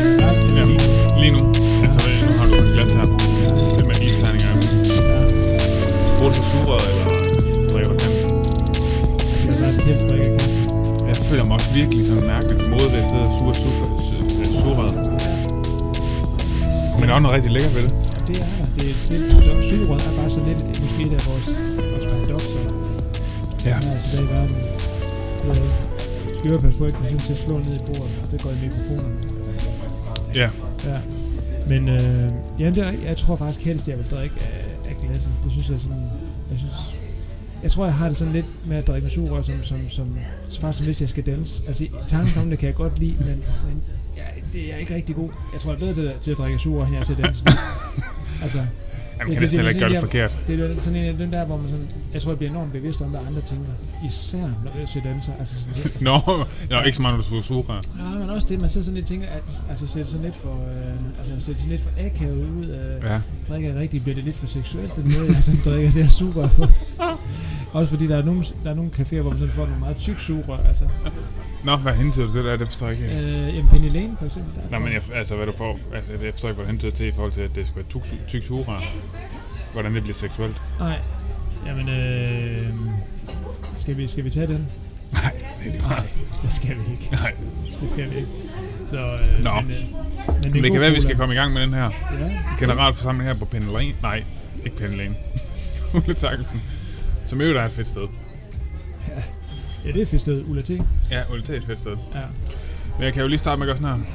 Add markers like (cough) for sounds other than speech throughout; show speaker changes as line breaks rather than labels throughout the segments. øh, Ja, lige nu. Så ved jeg, nu har du et glas her. Det med isterninger. Bruger du så sugerøret, eller drikker du kanten?
Jeg har kæft, hvor jeg ikke kan.
Jeg føler mig også virkelig sådan mærkeligt til mode, ved at sidde og suge suge sugerøret. Men der er jo noget rigtig lækkert ved det.
Det er der. Det er lidt, sugerød er faktisk så lidt, måske det er vores vores paradokser,
Ja.
der er tilbage i verden. Det er, skal vi jo passe på, at jeg kommer til at slå ned i bordet. Det går i mikrofonerne.
Ja.
Ja. Men øh, jamen, det er, rigtigt. jeg tror faktisk helst, at jeg vil drikke af, af glasset. Det synes jeg sådan... Jeg, synes, jeg tror, jeg har det sådan lidt med at drikke med sugerør, som, som, som faktisk som hvis jeg skal danse. Altså, tanken om det kan jeg godt lide, men, men jeg, det er jeg ikke rigtig god. Jeg tror, jeg er bedre til, til at drikke sugerør, end jeg er til at danse. altså,
Jamen, kan
Ja, det-
næsten
det-
heller ikke gøre det
det-
forkert.
det er jo sådan en af den der, hvor man sådan... Jeg tror, jeg bliver enormt bevidst om, hvad andre tænker. Især når jeg ser danser. Altså,
(laughs)
sådan, altså,
Nå, jeg er ikke så meget, når du suger sugerør.
Ja, men også det, man sidder sådan lidt og tænker, at altså, ser det sådan lidt for, øh, altså, ser det sådan lidt for akavet ud, øh,
Ja.
drikker jeg rigtigt, bliver det lidt for seksuelt, den måde, jeg sådan drikker det her sugerør (laughs) på. også fordi der er, nogle, der er nogle caféer, hvor man sådan får nogle meget tyk sugerør, altså.
Nå, hvad hentyder du til? Det er det forstår jeg ikke. helt.
Øh, jamen, Penny Lane for eksempel, der er-
Nej, men jeg, altså, hvad du får, altså, jeg forstår ikke, hvad du hentyder til i forhold til, at det skal være tyk, tyk sugerør. Hvordan det bliver seksuelt.
Nej, jamen, øh, skal vi, skal vi tage den?
Nej, det er det
Nej, (laughs) det skal vi ikke.
Nej.
Det skal vi ikke. Så, øh,
Nå.
Men, øh,
Men
men,
det
god
kan være, at vi
cola.
skal komme i gang med den her
Ja.
generalforsamling her på Pendelane. Nej, ikke (laughs) Pendelane. Ulle Takkelsen. Som i øvrigt er et fedt sted.
ja, det er fedt sted, Ulla T.
Ja, Ulle T er et fedt sted.
Ja.
Men jeg kan jo lige starte med at gøre sådan her.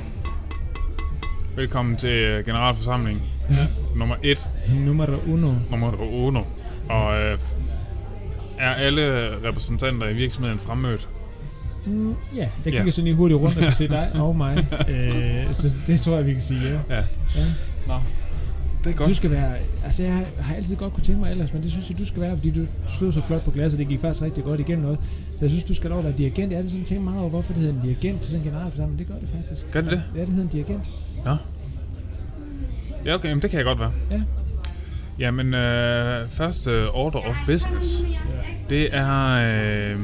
Velkommen til øh, generalforsamling
(laughs) ja.
nummer 1,
Nummer uno.
nummer 8. Og øh, er alle repræsentanter i virksomheden fremmødt?
Mm, ja, jeg
Ja.
kigger sådan lige hurtigt rundt og kan se (laughs) dig og mig. Øh, så det tror jeg, vi kan sige ja.
Ja.
ja.
Nå, det er
Du skal være... Altså, jeg har- har altid godt kunne tænke mig ellers, men det synes jeg, du skal være, fordi du stod så flot på glas, og det gik faktisk rigtig godt igennem noget. Så jeg synes, du skal lov at være dirigent. Jeg har altid sådan tænkt meget over, hvorfor det hedder en dirigent til sådan en generalforsamling. Det gør det faktisk.
Gør det det?
Ja, det hedder en dirigent.
Ja, okay, men det kan jeg godt være.
Ja.
Jamen, øh, første order of business, det er øh,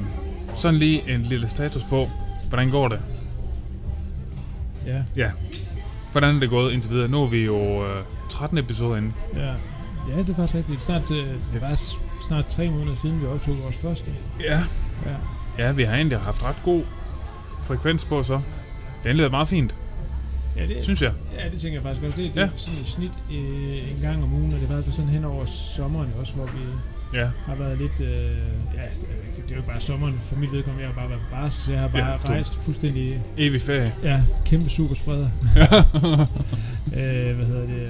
sådan lige en lille status på, hvordan går det?
Ja,
Ja. Hvordan er det gået indtil videre? Nu er vi jo øh, 13 episoder inde.
ja. Ja, det er faktisk rigtigt. Snart, øh, det var s- snart tre måneder siden, vi optog vores første.
Ja.
Ja.
Ja, vi har egentlig haft ret god frekvens på så. Den lyder meget fint,
Ja, det,
synes jeg.
Ja, det tænker jeg faktisk også. Det, det
Ja.
ja. er sådan et snit øh, en gang om ugen, og det har faktisk været sådan hen over sommeren også, hvor vi
Ja.
har været lidt... Øh, ja, det er jo ikke bare sommeren for mit vedkommende. Jeg har bare været på barsel, så jeg har bare
Ja,
ja,
du-
rejst fuldstændig...
Evig ferie.
Ja, kæmpe superspreder. øh, hvad hedder det?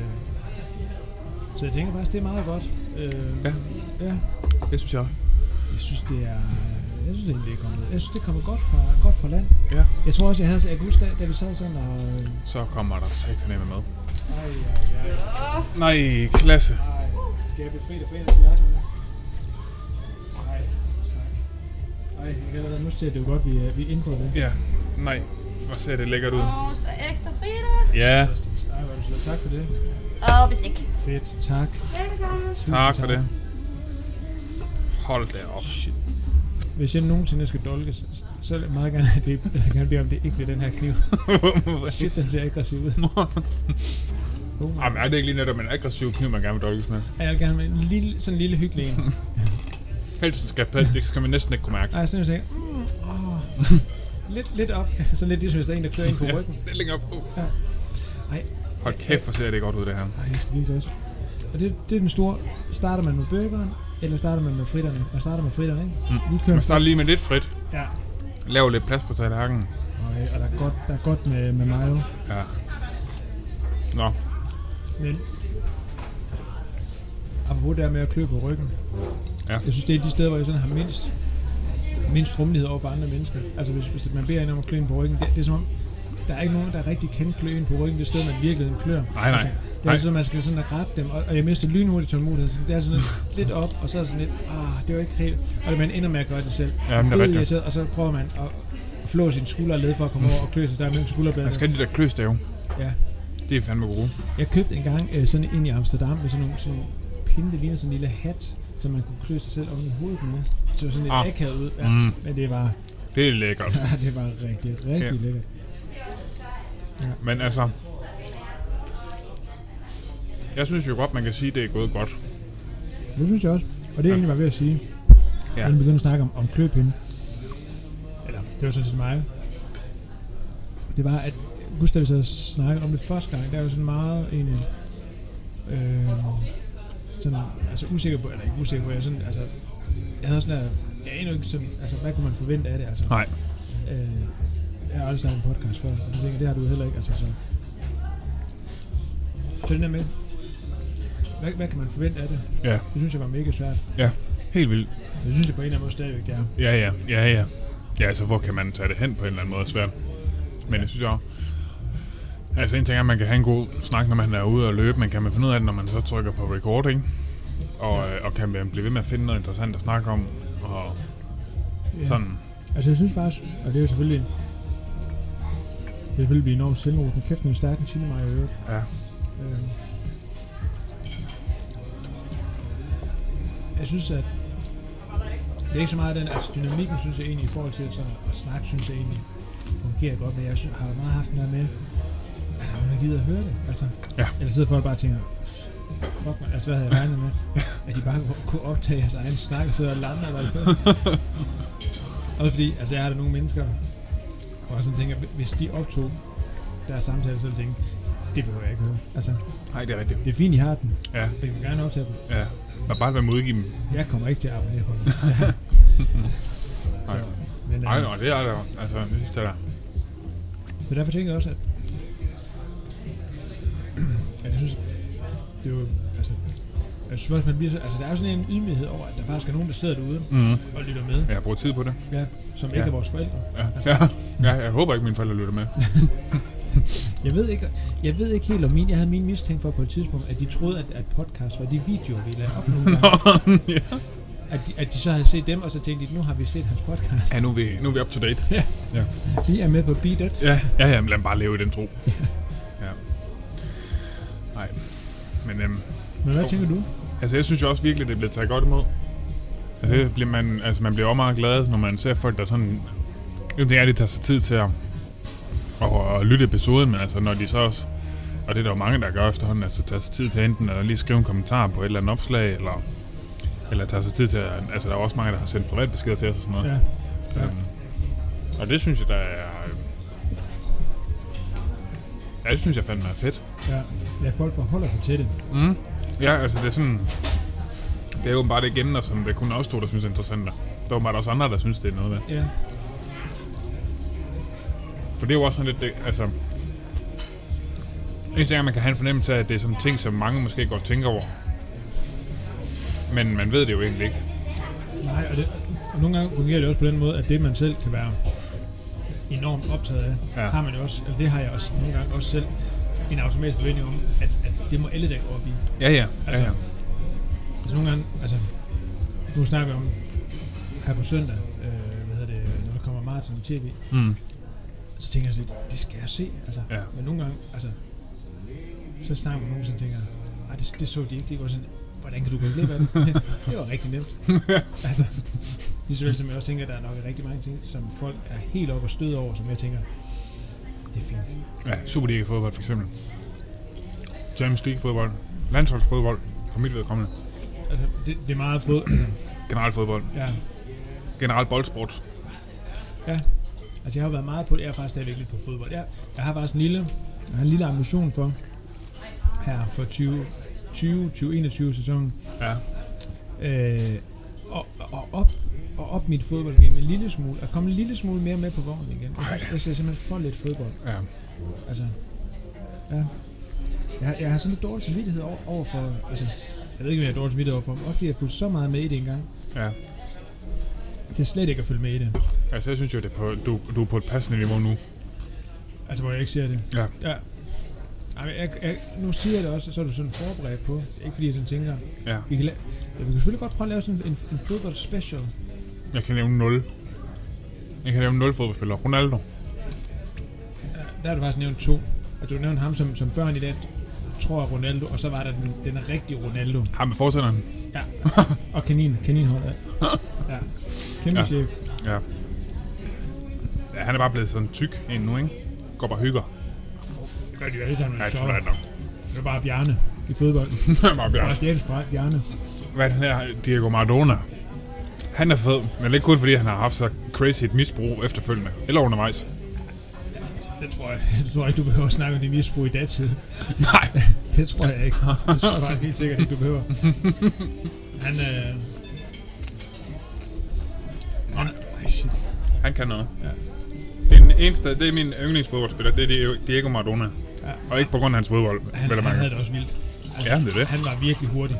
Så jeg tænker faktisk, det er meget godt. Øh,
Ja.
ja.
Det synes jeg også.
Jeg synes, det er... Jeg synes, egentlig, det er kommet, jeg synes, det er kommet godt fra, godt fra land.
Ja.
Jeg tror også, jeg havde... Jeg kan huske, da, da vi sad sådan og... Øh,
Så kommer der sataneme med.
ej, ej, ej.
Nej, klasse.
Ej, skal jeg befri dig for en af tallerkenerne? Nej, tak. Ej, jeg kan allerede nu se, at det er jo godt, vi, øh, vi ændrede det.
Ja. Nej, hvor ser det lækkert ud.
Og så ekstra frida.
Ja,
Fantastisk. Ej, hvor er du sød. Tak for det.
Og bestik.
Fedt, tak.
Velbekomme.
Tusind
tak for det. Hold da op. (laughs)
Shit. Hvis jeg nogensinde skal dolke, så, så vil jeg meget gerne have det. Jeg vil gerne bede om, det ikke bliver den her
(laughs)
kniv. Shit, den ser aggressiv ud. Oh my.
Jamen, er det ikke lige netop en aggressiv kniv, man gerne vil dolkes med?
Ej, jeg vil gerne have en lille, sådan en lille hyggelig en.
Pelsen skal pels, det skal man næsten ikke kunne mærke.
Ej, sådan en, jeg tænker, mm, åh.
(laughs)
Lidt, lidt op. (laughs) Sådan lidt ligesom, hvis der er en, der kører ind på ryggen.
Det er længere op. Uh.
Ja. Ej.
Hold kæft, hvor ser det godt ud, det her.
Ej, jeg skal virkelig også. Og det, det er den store. Starter man med burgeren, eller starter man med fritterne? Man starter med fritterne, ikke? Mm. Vi kører
Man starter lige med lidt frit.
Ja.
Lav lidt plads på tallerkenen.
Okay, og der er godt, der er godt med, med mayo.
Ja. Nå,
Men apropos det her med at klø på ryggen.
Ja.
Jeg synes, det er de steder, hvor jeg sådan har mindst, mindst rummelighed over for andre mennesker. Altså, hvis, hvis man beder en om at klø en på ryggen, det, det er som om, der er ikke nogen, der rigtig kan klø en på ryggen. Det er sted, man virkelig klør. Altså,
nej, nej.
Det er
nej.
altid, at man skal sådan at rette dem, og, og jeg mister lynhurtigt tålmodighed. Så det er sådan lidt, lidt op, og så er det sådan lidt, ah, det var ikke helt... Og man ender med at gøre det selv.
Ja, men det er rigtigt.
rigtigt. Og så prøver man at flå sin skulder og led for at komme over og klø sig der mellem
Man
skulderbladene.
skal have de der kløstave.
Ja.
Det er fandme gode.
Jeg købte engang øh, sådan en i Amsterdam med sådan nogle sådan nogle pinde, der ligner sådan en lille hat, som man kunne klø sig selv oven i hovedet med. Så det var sådan lidt
Ah.
ah. akavet ud. Ja.
Mm.
Men det var, (laughs)
Det er lækkert.
ja, det var rigtig,
Ja.
rigtig lækkert.
Men altså... Jeg synes jo godt, man kan sige, at det er gået godt.
Det synes jeg også. Og det er egentlig, var ved at sige,
Ja.
ja. inden vi begyndte at snakke om, om kløpinde. Eller, det var sådan set mig. Det var, at husk, da vi så snakkede om det første gang, der var jeg sådan meget egentlig... Øh, sådan, altså usikker på, eller ikke usikker på, jeg, sådan, altså, jeg havde sådan der, jeg er endnu ikke sådan, altså, hvad kunne man forvente af det, altså?
Nej.
Øh, jeg har aldrig startet en podcast før, og du tænker, det har du heller ikke, altså så... Så den der med, hvad, hvad kan man forvente af det?
Ja.
Det synes jeg var mega svært.
Helt vildt.
Det synes jeg på en eller anden måde stadigvæk, det er.
Ja, ja, ja, ja. Ja, altså, hvor kan man tage det hen på en eller anden måde er svært. Men jeg synes også, altså en ting er, at man kan have en god snak, når man er ude og løbe, men kan man finde ud af det, når man så trykker på recording? Og, øh, og kan man blive ved med at finde noget interessant at snakke om? Og
Ja.
sådan.
Altså jeg synes faktisk, og det er jo selvfølgelig... Det er selvfølgelig blive enormt selvrosen. Kæft, den er stærk en time mig i øvrigt.
Ja.
Øhm. Jeg synes, at det er ikke så meget den, altså dynamikken, synes jeg egentlig, i forhold til sådan at snakke, synes jeg egentlig fungerer godt, men jeg synes, har meget haft den der med, at der er nogen, der gider at høre det, altså.
Ja.
Eller sidder folk bare og tænker, fuck man, altså hvad havde jeg regnet med? at de bare kunne- kunne optage jeres egen snak og sidde og lande eller noget. Også fordi, altså jeg har der nogle mennesker, hvor jeg sådan tænker, hvis de optog deres samtale, så ville jeg tænke, det behøver jeg ikke høre. Altså,
Nej, det er rigtigt.
det er fint, I har den.
Ja.
Det kan gerne optage den.
Ja. Men bare være modgive dem.
Jeg kommer ikke til at abonnere på den.
(laughs) Nej,
Men, øh,
nej, nej, Altså, det er der. Altså, det synes jeg da.
Så derfor tænker jeg også, at... (clears throat) at jeg synes, det er jo... Altså, jeg synes også, man bliver så, altså, der er jo sådan en ydmyghed over, at der faktisk er nogen, der sidder derude
Mm.
og lytter med,
Jeg har brugt tid på det.
ja, som ikke
Ja.
er vores forældre.
Ja. ja. ja jeg håber ikke, mine forældre lytter med.
Jeg ved ikke, jeg ved ikke helt om min... Jeg havde min mistænkt for på et tidspunkt, at de troede, at, at podcast var de videoer, vi lavede
(laughs)
op nogle gange.
ja.
at, de, at de så havde set dem, og så tænkte de, nu har vi set hans podcast.
ja, nu er vi, nu er vi up to date.
Vi er med på Beat It.
Ja, ja, ja men lad dem bare leve i den tro. Ja. Nej. Men øhm,
Men hvad
Jo.
tænker du?
altså, jeg synes jo også virkelig, det bliver taget godt imod. Altså, det bliver man, altså man bliver også meget glad, når man ser folk, der sådan... Jeg tænker, at de tager sig tid til at, at, at lytte episoden, men altså, når de så også... Og det er der jo mange, der gør efterhånden, altså tager sig tid til enten at lige skrive en kommentar på et eller andet opslag, eller, eller tager sig tid til at... Altså, der er jo også mange, der har sendt privatbeskeder til os og sådan noget.
Ja.
Ja. Og det synes jeg, der er... øh, Ja, det synes jeg fandme er fedt.
ja. Ja, folk forholder sig til det.
Mm. Ja, altså det er sådan... Det er åbenbart ikke emner, som det kun er os to, der synes er interessante. Der er åbenbart også andre, der synes, det er noget værd.
Ja.
For det er jo også sådan lidt... Det, altså, en ting er, at man kan have en fornemmelse af, at det er sådan ting, som mange måske godt tænker over. Men man ved det jo egentlig ikke.
Nej, og, det, og nogle gange fungerer det også på den måde, at det man selv kan være enormt optaget af,
Ja.
ja. har man jo også, eller det har jeg også nogle gange også selv, en automatisk forventning om, at, at det må alle dække op i.
Ja, ja.
Altså, Altså nogle gange, altså, nu snakker vi om her på søndag, øh, hvad hedder det, når der kommer maraton i tv,
Mm.
så tænker jeg sådan lidt, det skal jeg se, altså.
Ja.
Men nogle gange, altså, så snakker man med nogen, som tænker, nej, det, det så de ikke, det var sådan, hvordan kan du gå glip af det? (laughs) det var rigtig nemt. altså, lige så vel som jeg også tænker, der er nok rigtig mange ting, som folk er helt oppe og støde over, som jeg tænker, det er fint.
Ja, Superliga-fodbold for eksempel. Champions League-fodbold. Landsholdsfodbold. For mit vedkommende.
Altså, det, det er meget fod, altså,
Generelt fodbold.
ja,
Generelt boldsport.
Altså, jeg har jo været meget på det. Jeg er faktisk stadigvæk lidt på fodbold. Jeg, jeg har faktisk en lille, jeg har en lille ambition for, her for 20, 20 2021 sæsonen,
Ja.
øh, og, og, op, og op mit fodboldgame en lille smule, og komme en lille smule mere med på vognen igen. Jeg, synes, jeg ser simpelthen for lidt fodbold.
Ja.
Altså, ja. Jeg, har- jeg har sådan lidt dårlig samvittighed over, over for, altså, jeg ved ikke, om jeg har dårlig samvittighed over for, men også fordi jeg har fulgt så meget med i det engang.
Ja.
Det er slet ikke at følge med i det.
Altså, jeg synes jo, det er på, du, du er på et passende niveau nu.
Altså, hvor jeg ikke ser det.
Ja.
ja. Ej, men jeg, jeg, nu siger jeg det også, så er du sådan forberedt på. Ikke fordi jeg sådan tænker.
Ja.
Vi kan, la- ja, vi kan selvfølgelig godt prøve at lave sådan en, en fodbold special.
Jeg kan nævne 0. Jeg kan nævne 0 fodboldspillere. Ronaldo.
Ja, der har du faktisk nævnt to. Og du nævnte ham som, som børn i dag, tror jeg Ronaldo, og så var der den, den rigtige Ronaldo.
Ham med fortænderen. (laughs)
Ja. og kanin, kaninhold. Ja. ja. Kæmpe
Ja.
ja. chef.
Ja, han er bare blevet sådan tyk endnu, ikke? Går bare og hygger.
gør de jo alle sammen,
Ja,
når de
det er
stopper.
svært nok.
Det er bare Bjarne i fodbold. (laughs)
(laughs) Bare Bjarne.
Bare Jens Bjarne. Bjarne.
Hvad er det her? Diego Maradona. Han er fed, men ikke kun fordi han har haft så crazy et misbrug efterfølgende. Eller undervejs.
(laughs) Det tror jeg, jeg tror ikke, du behøver at snakke om din misbrug i datid.
(laughs) Nej.
Det tror jeg ikke. Det tror jeg faktisk helt sikkert ikke, du
(laughs)
behøver. Han, øh... Han, ej, shit.
Han kan noget.
Ja.
Den eneste, det er min yndlingsfodboldspiller, det er Di- Diego Maradona.
Ja.
Og ikke på grund af hans fodbold,
Han,
vel at
han
mærke.
havde det også vildt.
Ja, det er det.
Han var virkelig hurtig.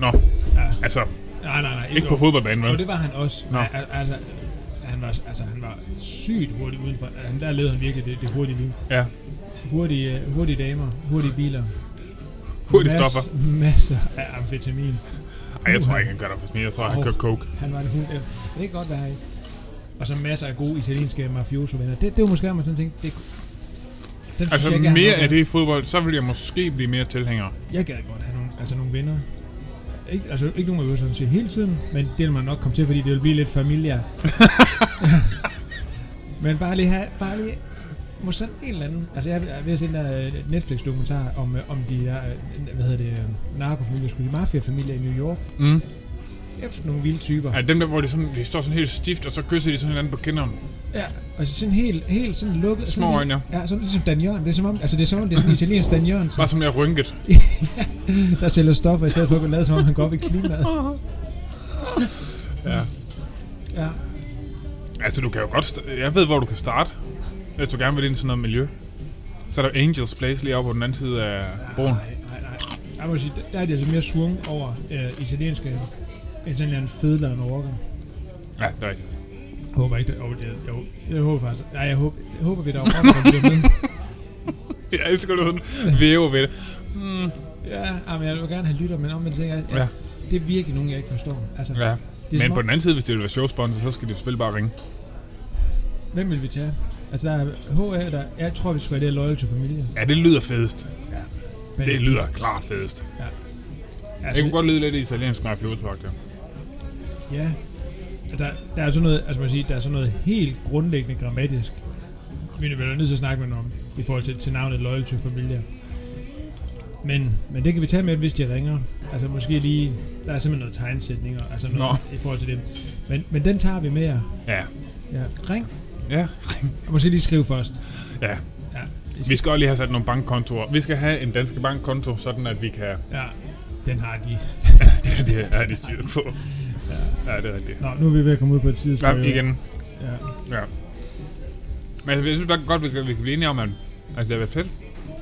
Nå,
Ja.
altså,
Nej, nej, nej.
ikke på
over-
fodboldbanen,
Og
vel?
det var han også.
Nå.
Al- al- Altså, han var, altså, han var sygt hurtig udenfor. Altså, Han, der levede han virkelig det, det hurtige liv.
Ja.
Hurtige, øh, hurtige damer, hurtige biler.
Hurtigt
mas-
stopper.
(laughs) Masser af amfetamin.
Ej, jeg tror ikke, han gør det for smidt. Jeg tror, han
Åh.
kører coke.
Han var en hund. øh, Det kan godt være. ikke? Og så masser af gode italienske mafioso-venner. Det, det var måske, at man sådan tænkte, det kunne- den synes
Altså,
jeg ikke, han
mere
var-
af det i fodbold, så vil jeg måske blive mere tilhænger.
Jeg gad godt have nogle, altså nogle venner. Ikke, altså ikke nogen, man vil sådan sige hele tiden, men det vil man nok komme til, fordi det vil blive lidt
(laughs)
familie. men bare lige have, bare lige, må sådan en eller anden, altså jeg er ved at se den der øh, Netflix-dokumentar om, øh, om de der, øh, hvad hedder det, øh, narkofamilier, skulle de mafiafamilier i New York.
Mm.
Efter nogle vilde typer.
Ja, dem der, hvor de, sådan, de står sådan helt stift, og så kysser de sådan hinanden på kinderne.
Ja, altså sådan helt, helt sådan lukket.
Små
sådan,
øjne, ja.
Ja, sådan ligesom Dan Jørgen. Det er som om, altså det er som om, det er
(laughs)
sådan en italiensk Dan Jørgen,
Bare som jeg rynket.
der sælger stoffer, i stedet for at gå lade som om, han går op i
(laughs)
klimaet.
Ja.
Ja.
Altså, du kan jo godt... St- jeg ved, hvor du kan starte, hvis du gerne vil ind i sådan noget miljø. Så er der Angels Place lige oppe på den anden side af broen.
Nej, nej, nej. Jeg må sige, der er det altså mere svung over øh, italienske end sådan en eller anden fedladende overgang.
Ja, det er rigtigt.
Jeg håber ikke, det, oh, det, jo, jeg håber faktisk, nej, jeg håber, jeg håber vi der
(laughs)
overgang bliver med.
Jeg elsker du sådan væve ved det. Mm.
Ja, ej, men jeg vil gerne have lytter, men om man tænker, at,
Ja.
ja. det er virkelig nogen, jeg ikke forstår. Altså,
Ja.
det er
Men
som
på
om,
den anden side, hvis det vil være showsponsor, så skal de selvfølgelig bare ringe.
hvem vil vi tage? Altså, der er HA, der, jeg tror, vi skal have det her loyal to familie.
Ja, det lyder fedest.
Men,
Det lyder klart fedest. Altså, Det
altså,
kunne godt lyde lidt italiensk mafiosvagt, ja.
Ja. Der, der er sådan noget, altså man siger, der er sådan noget helt grundlæggende grammatisk, vi er vel nødt til at snakke med dem om, i forhold til, til navnet Loyal to Familia. Men, men det kan vi tage med, hvis de ringer. Altså måske lige, der er simpelthen noget tegnsætninger, altså noget i forhold til det. Men, men den tager vi med jer.
Ja.
Ja. Ring.
Ja.
Og måske lige skriv først.
Ja.
Ja.
Vi skal også lige have sat nogle bankkontoer. Vi skal have en danske bankkonto, sådan at vi kan... (laughs)
ja. Den har de.
det er de styr på. Ja, ja det er rigtigt.
Nå, nu er vi ved at komme ud på et tidspunkt.
Ja, igen.
Ja.
Ja. Men altså, jeg synes bare godt, vi kan, vi kan blive enige om, at, at det er fedt.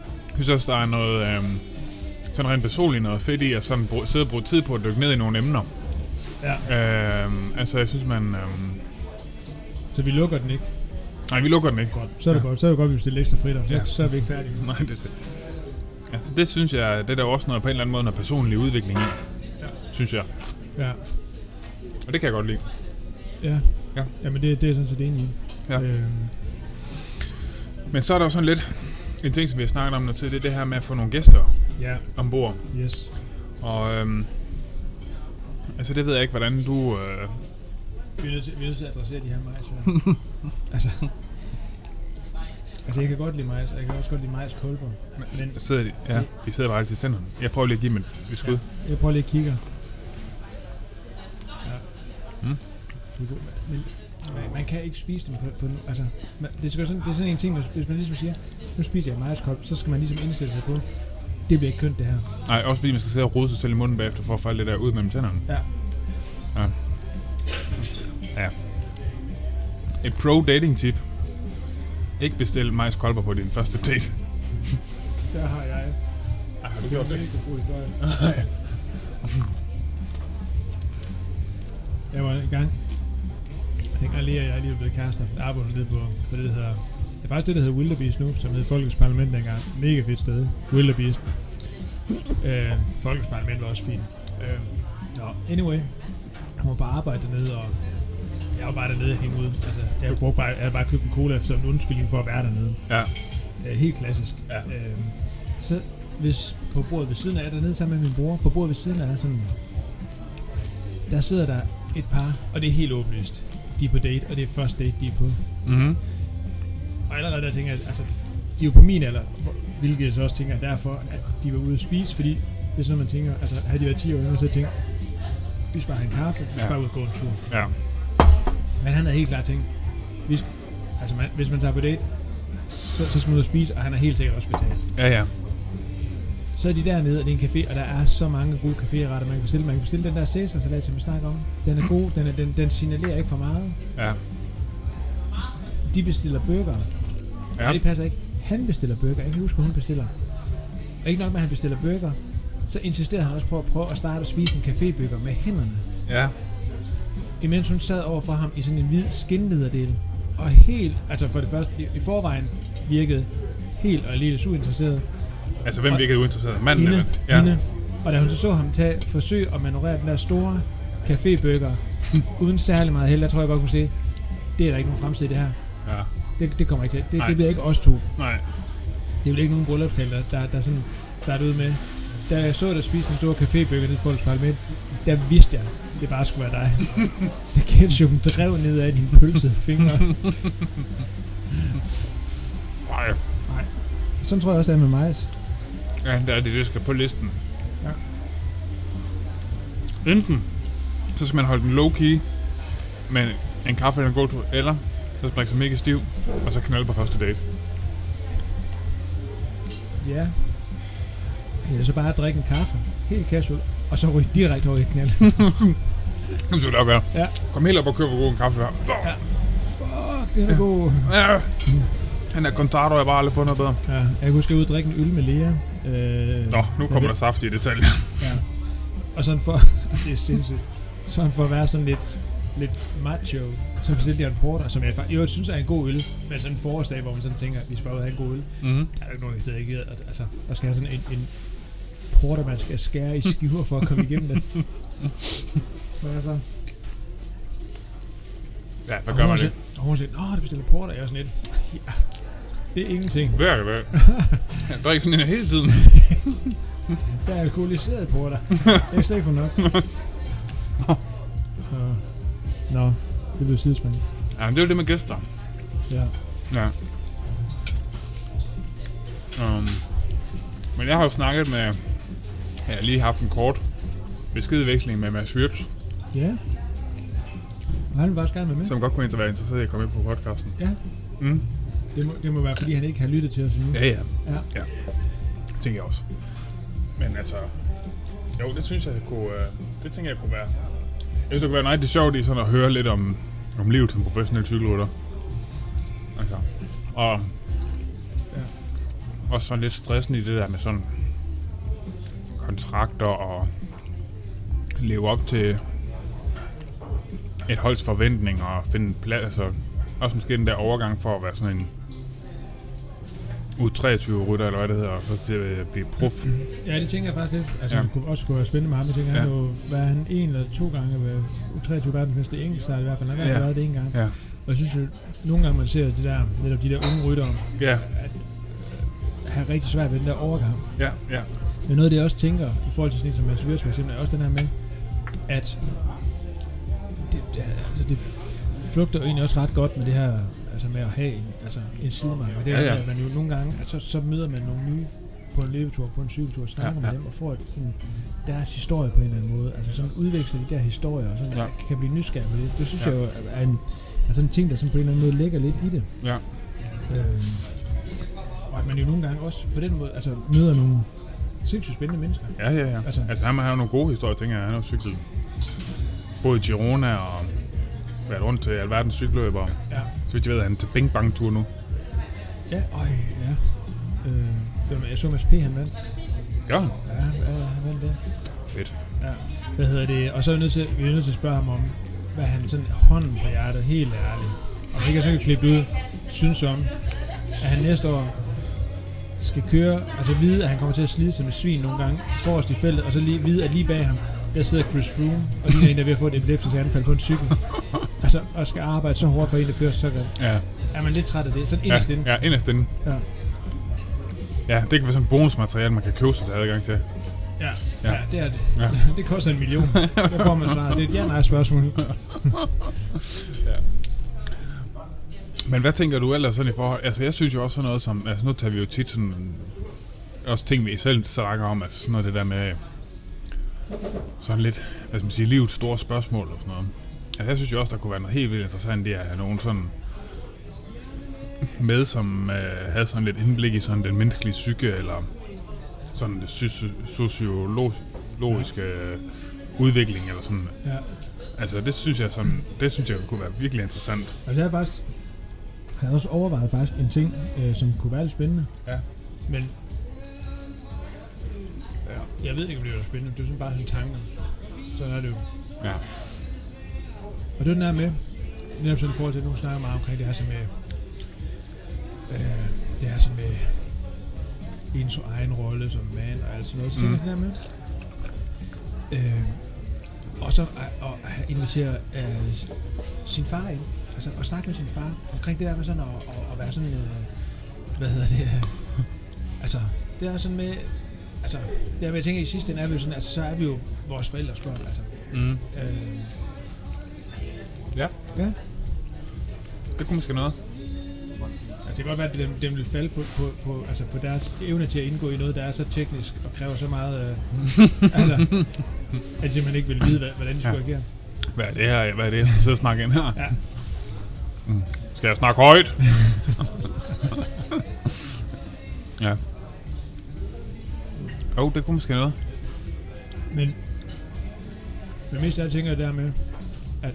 Jeg synes også, der er noget øhm, sådan rent personligt noget fedt i at sådan bruge, sidde og bruge tid på at dykke ned i nogle emner.
Ja.
Øhm, altså, jeg synes, man... Øhm,
Så vi lukker den ikke.
nej, vi lukker den ikke.
Godt. Så er det
Ja.
godt. Så er det godt, vi bestiller ekstra fritter. Så,
Ja.
ja. så er vi ikke færdige.
(laughs) Nej, det er det. Altså, det synes jeg, det er der jo også noget på en eller anden måde, noget personlig udvikling i. Ja. Synes jeg.
Ja.
Og det kan jeg godt lide.
Ja.
Ja.
Jamen, det, det er jeg sådan set enig i.
Ja.
Øhm,
Men så er der jo sådan lidt... En ting, som vi har snakket om noget tid, det er det her med at få nogle gæster
ja,
ombord.
yes.
Og øhm, altså det ved jeg ikke, hvordan du... Øh,
Vi er nødt til, vi er nødt til at adressere de her majs
(laughs)
her. altså, altså, jeg kan godt lide majs, og jeg kan også godt lide majskolber. Men
sidder de, ja, de sidder bare altid i tænderne. Jeg prøver lige at give dem et- et skud. Ja.
jeg prøver lige at kigge. Ja.
Mm.
Det er god, men- men man- man kan ikke spise dem på, på en- altså, man, det, skal sådan, det er sådan en ting, hvis, hvis man ligesom siger, nu spiser jeg majskolb, så skal man ligesom indstille sig på, det bliver ikke kønt det her.
Nej, også fordi man skal sidde og rode sig selv i munden bagefter for at få alt det der ud mellem tænderne.
Ja.
Ja. ja. Et pro-dating-tip. Ikke bestil majskolber på din første date.
Der har jeg.
Ej, har du gjort det?
god historie. (laughs) jeg var en gang, dengang lige, jeg lige var blevet kærester, der arbejdede nede på, på det, der hedder, det er faktisk det, der hedder Wildebeest nu, som hed Folkets Parlament dengang. Mega fedt sted, Wildebeest. Øh, Folkets Parlament var også fint. Øh, no, anyway, jeg var bare arbejde dernede, og jeg var bare dernede og hænge ud. Altså, jeg, brugte bare, jeg havde bare købt en cola som en undskyldning for at være dernede.
Ja.
Øh, helt klassisk.
Ja.
Øh, så hvis på bordet ved siden af, dernede sammen med min bror, på bordet ved siden af, sådan, der sidder der et par, og det er helt åbenlyst. De er på date, og det er første date, de er på.
Mm-hmm.
Og allerede der tænker jeg, altså, de er jo på min alder, hvor- hvilket jeg så også tænker derfor, at de var ude at spise, fordi det er sådan, man tænker, altså havde de været 10 år yngre, så havde jeg tænkt, vi skal bare have en kaffe, vi skal
Ja.
bare ud og gå en tur.
Ja.
Men han havde helt klart tænkt, vi skal, altså man, hvis man tager på date, så, så skal man ud og spise, og han har helt sikkert også betalt.
Ja, ja.
Så er de dernede, og det er en café, og der er så mange gode caféretter, man kan bestille. Man kan bestille den der Cæsar-salat, som vi snakker om. Den er god, den, er, den, den signalerer ikke for meget.
Ja.
De bestiller burger. Ja.
Ja.
Nej, det passer ikke. Han bestiller burger. Jeg kan ikke huske, hvad hun bestiller. Og ikke nok med, at han bestiller burger, så insisterede han også på at prøve at starte at spise en cafébøger med hænderne.
Ja.
Imens hun sad over for ham i sådan en hvid skinlederdel. Og helt, altså for det første, i- i forvejen virkede helt og alligevis uinteresseret.
Altså, hvem virkede uinteresseret? Manden
Hende,
eller?
ja. hende. Og da hun så så ham tage forsøg at manøvrere den der store (laughs) cafébøger, uden særlig meget held, der tror jeg godt kunne se, det er der ikke nogen fremtid i det her.
Ja.
Det, det kommer ikke til. Det,
Nej.
det bliver ikke os to.
Nej.
Det er vel ikke nogen bryllupstal, der, der, der sådan starter ud med, da jeg så dig spise den store cafébøger nede i Folkets Parlament, der vidste jeg, det bare skulle (laughs) være dig. det ketchupen drev ned af dine pølsede fingre.
Nej.
(laughs) Sådan tror jeg også, det er med majs.
Ja, der er det, der skal på listen.
Ja.
Enten, så skal man holde den low-key med en kaffe eller en god tur, eller så skal man ikke så mega stiv, og så knalde på første date.
Ja. Eller så bare drikke en kaffe, helt casual, og så ryge direkte over i et knald.
Det skal du gøre.
Ja.
Kom helt op og kør, hvor god en kaffe er.
Ja. Fuck, det er ja. god.
Ja. Den der Contado, jeg har bare aldrig fundet bedre.
Ja, jeg kan huske, at jeg var ude og drikke en øl med Lea. Øh,
Nå, nu kommer
Ja,
der saftige detaljer.
Ja. Og sådan for... (laughs) det er sindssygt. Sådan for at være sådan lidt, lidt macho, så bestilte jeg en porter, som jeg faktisk i øvrigt synes er en god øl, men sådan en forårsdag, hvor man sådan tænker, at vi skal bare ud og have en god øl.
Mm-hmm.
Der er jo ikke nogen, der ikke at, altså, der skal have sådan en, en porter, man skal skære i skiver for at komme igennem det. Hvad er så?
Ja, hvad gør
og hun
man
var
det?
sådan- Og hun sagde, åh, der bestiller porter. Jeg var sådan lidt, ja, det er ingenting.
Hver (laughs) dag. Jeg drikker sådan en hele tiden.
Der er alkoholiseret porter. Jeg er slet ikke for
(laughs)
nok. Nå. Nå, det blev sidespændende.
Ja, men det er jo det med gæster.
Ja.
Ja. Um, men jeg har jo snakket med... Jeg har lige haft en kort beskedveksling med Mads Wirtz,
Ja. Og han vil faktisk gerne være med.
som godt kunne være interesseret i at komme ind på podcasten.
Ja.
Mm.
Det må, det må være, fordi han ikke har lyttet til os endnu.
Ja, ja.
Mm. Ja.
ja. Tænker jeg også. Men altså... Jo, det synes jeg, jeg kunne... Øh, det tænker jeg kunne være... Jeg synes, det kunne være rigtig sjovt i sådan at høre lidt om, om livet som professionel cykelrytter. Altså. Og... Ja.
Ja.
Også sådan lidt stressen i det der med sådan... Kontrakter og... Leve op til et holds forventning og finde en plads. Altså, også måske den der overgang for at være sådan en U23-rytter, eller hvad det hedder, og så til at blive prof.
ja, det tænker jeg faktisk lidt. Altså,
Ja.
ja. det kunne også kunne være spændende med ham. Jeg tænker, ja. han
Ja.
jo være han en eller to gange ved U23 verdensmester i enkeltstart i hvert fald. Han har i hvert
Ja.
fald været det en gang.
Ja.
Og jeg synes jo, nogle gange man ser de der, netop de der unge ryttere
Ja,
have rigtig svært ved den der overgang.
ja, ja.
Men noget af det, jeg også tænker, i forhold til sådan en som Mads Vyrs for eksempel, er også den her med, at det, det, altså det f- flugter jo egentlig også ret godt med det her altså med at have en, altså en sidemark. Og det er,
Ja,
ja,
ja.
ja. at man jo nogle gange, altså, så møder man nogle nye på en løbetur, på en cykeltur, snakker
Ja, ja.
ja, ja. med dem og får et, sådan, deres historie på en eller anden måde. Altså sådan udveksler de der historier, og sådan,
Ja.
ja. kan blive nysgerrig på det. Det synes
Ja.
ja. jeg jo er en, er sådan en ting, der sådan på en eller anden måde ligger lidt i det.
Ja.
Øhm, og at man jo nogle gange også på den måde altså, møder nogle sindssygt spændende mennesker.
Ja, ja, ja. Altså,
Altså-
altså han har jo nogle gode historier, tænker jeg. Han har jo cyklet både i Girona og været rundt til alverdens cykelløber.
Ja.
Så vidt jeg ved, er han til Bing Bang Tour nu.
Ja, øj, ja. Øh, det var, jeg så Mads P. han vandt.
Ja,
Ja, han, ja, han vandt det.
fedt.
Ja. Hvad hedder det? Og så er vi nødt til, vi er nødt til at spørge ham om, hvad han sådan hånden på hjertet, helt ærligt, og ikke jeg så kan klippe det ud, synes om, at han næste år skal køre, altså vide, at han kommer til at slide sig med svin nogle gange forrest i feltet, og så lige vide, at lige bag ham, der sidder Chris Froome, og lige en, der er ved at få et epileptisk anfald på en cykel. altså, og skal arbejde så hårdt for en, der kører så grimt.
Ja,
Er man lidt træt af det? Sådan
ja,
inderst inde.
ja, inderst inde.
Ja.
Ja, det kan være sådan et bonusmateriale, man kan købe sig til adgang til.
Ja,
Ja.
ja. ja det er det.
Ja.
Ja. (laughs) det koster en million. Der får man svaret. Det er et ja-nej spørgsmål.
Men hvad tænker du ellers sådan i forhold... Altså, jeg synes jo også sådan noget som... Altså, nu tager vi jo tit sådan... Også ting, vi selv snakker om, altså sådan noget det der med... Sådan lidt, hvad skal man sige, livets store spørgsmål og sådan noget. Altså, jeg synes jo også, der kunne være noget helt vildt interessant i at have nogen sådan med, som øh, havde sådan lidt indblik i sådan den menneskelige psyke, eller sådan det soci- sociologiske øh, udvikling, eller sådan.
Ja.
Altså, det synes jeg sådan, det synes jeg kunne være virkelig interessant.
Og det er faktisk... Jeg havde også overvejet faktisk en ting, øh, som kunne være lidt spændende.
Ja.
Men... Ja. Jeg ved ikke, om det er spændende. Det er sådan bare sådan tanker. Sådan er det jo.
Ja.
Og det er den der med, netop sådan i forhold til, at nu snakker meget omkring det her så med, øh, det her så med ens egen rolle som mand og alt sådan noget. Så tænker
Mm.
jeg sådan der med, øh, og så at- at at invitere øh, sin far ind, altså at snakke med sin far omkring det der med sådan at, at, at være sådan, øh, hvad hedder det, (laughs) øh, altså det er sådan med, altså det her med, jeg tænker i sidste ende er vi jo sådan, altså så er vi jo vores forældres børn, altså.
Mm.
Øh,
Ja.
Ja.
Det kunne måske noget.
Altså, det kan godt være, at dem, dem vil falde på, på, på, altså på deres evne til at indgå i noget, der er så teknisk og kræver så meget... Øh,
(laughs)
altså, at de simpelthen ikke vil vide, hvad- hvordan de skulle
Ja.
agere.
Hvad er det her? Hvad er det, jeg skal sidde og snakke ind her?
Ja.
Mm. Skal jeg snakke (laughs) højt? ja. Jo, oh, det kunne måske noget.
Men, men mest af alt tænker jeg dermed, at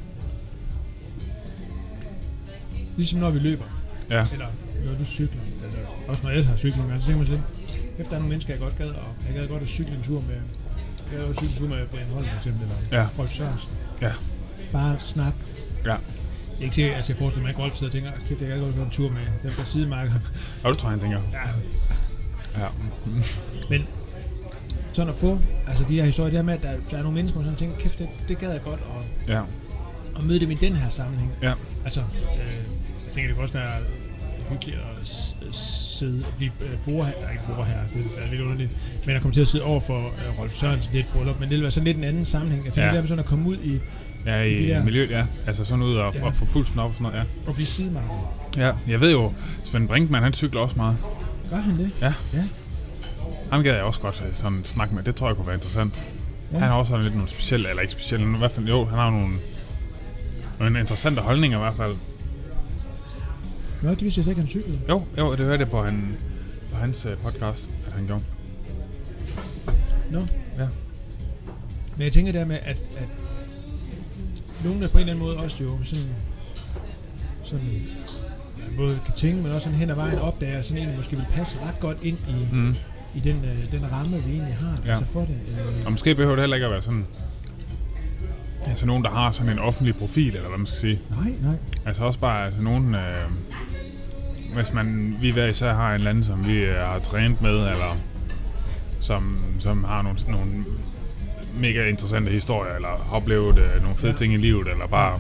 ligesom når vi løber,
Ja.
eller når du cykler, altså, også når jeg har cyklet nogle gange, så tænker man sådan, efter der er nogle mennesker, jeg godt gad, og jeg gad godt at cykle en tur med, jeg gad godt at cykle en tur med Brian Holm for eksempel, eller
Ja.
Rolf Sørensen.
Ja.
Bare snak.
Ja.
Jeg er ikke sikker, altså jeg forestiller mig, at Rolf sidder og tænker, "Ah, kæft, jeg gad godt at gå en tur med den fra sidemarken.
Og det tror jeg, han tænker.
Ja,
Ja.
sådan at få, altså de her historier, det her med, at der, der er nogle mennesker, som tænker, kæft, det, det gad jeg godt, og
Ja.
at møde dem i den her sammenhæng.
Ja.
Altså, øh, jeg tænker, det kunne også være hyggeligt at s- s- sidde og blive øh, bor her, ikke bor her, det er lidt underligt, men at komme til at sidde over for øh, Rolf Sørensen, det er et bryllup, men det ville være sådan lidt en anden sammenhæng. Jeg tænker,
Ja.
ja. det er sådan at komme ud i
Ja,
I det
i
der-
miljøet, ja. Altså sådan ud og,
Ja.
og få pulsen op og sådan noget, ja.
og blive sidemarked.
Ja, jeg ved jo, Svend Brinkmann, han cykler også meget.
Gør han det?
Ham gad jeg også godt øh, sådan snakke med. Det tror jeg kunne være interessant. Ja.
Ja.
Han har også sådan lidt nogle specielle, eller ikke specielle, men i hvert fald, jo, han har nogle, nogle interessante holdninger i hvert fald.
Nå, det vidste jeg slet ikke, han cyklede.
Jo, jo, det hørte jeg på, han, på hans øh, podcast, at han gjorde.
Men jeg tænker der med, at, at nogen der på en eller anden måde også jo sådan, sådan ja, både kan tænke, men også sådan hen ad vejen opdager, at sådan egentlig måske vil passe ret godt ind i,
Mm.
i den, øh, den ramme, vi egentlig har.
Ja.
Ja. Altså for det. Øh,
Og måske behøver det heller ikke at være sådan... Altså nogen, der har sådan en offentlig profil, eller hvad man skal sige.
nej, nej.
Altså også bare altså nogen... Øh, hvis man, vi hver især har en eller anden, som vi øh, har trænet med, eller som, som har nogle, nogle mega interessante historier, eller har oplevet øh, nogle fede
Ja.
ting i livet, eller bare...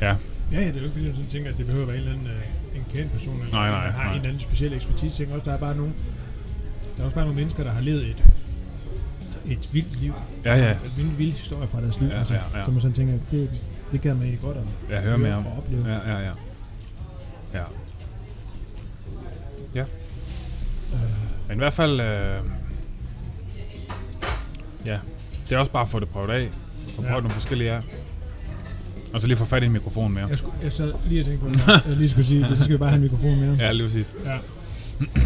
Ja, ja, det er jo ikke fordi, jeg sådan tænker, at det behøver at være en eller anden øh, en kendt person, eller
Nej,
en, der
nej,
har
nej.
en eller anden speciel ekspertise. Jeg tænker også, der er bare nogle, der er også bare nogle mennesker, der har levet et, et vildt liv.
Ja, ja,
Et vildt, vildt historie fra deres liv.
Ja,
altså,
ja, ja.
Så man sådan tænker, det, det gad man egentlig godt at
jeg hører med om.
og opleve.
Ja, ja, ja. Ja. Ja. Men i hvert fald... Øh, ja. Det er også bare at få det prøvet af. Få
Ja.
prøvet nogle forskellige af. Og så lige få fat i en mikrofon mere.
Jeg, skulle, jeg sad lige og tænkte på det. (laughs) Jeg lige skulle sige, så skal vi bare have en mikrofon mere.
Ja, lige præcis.
Ja.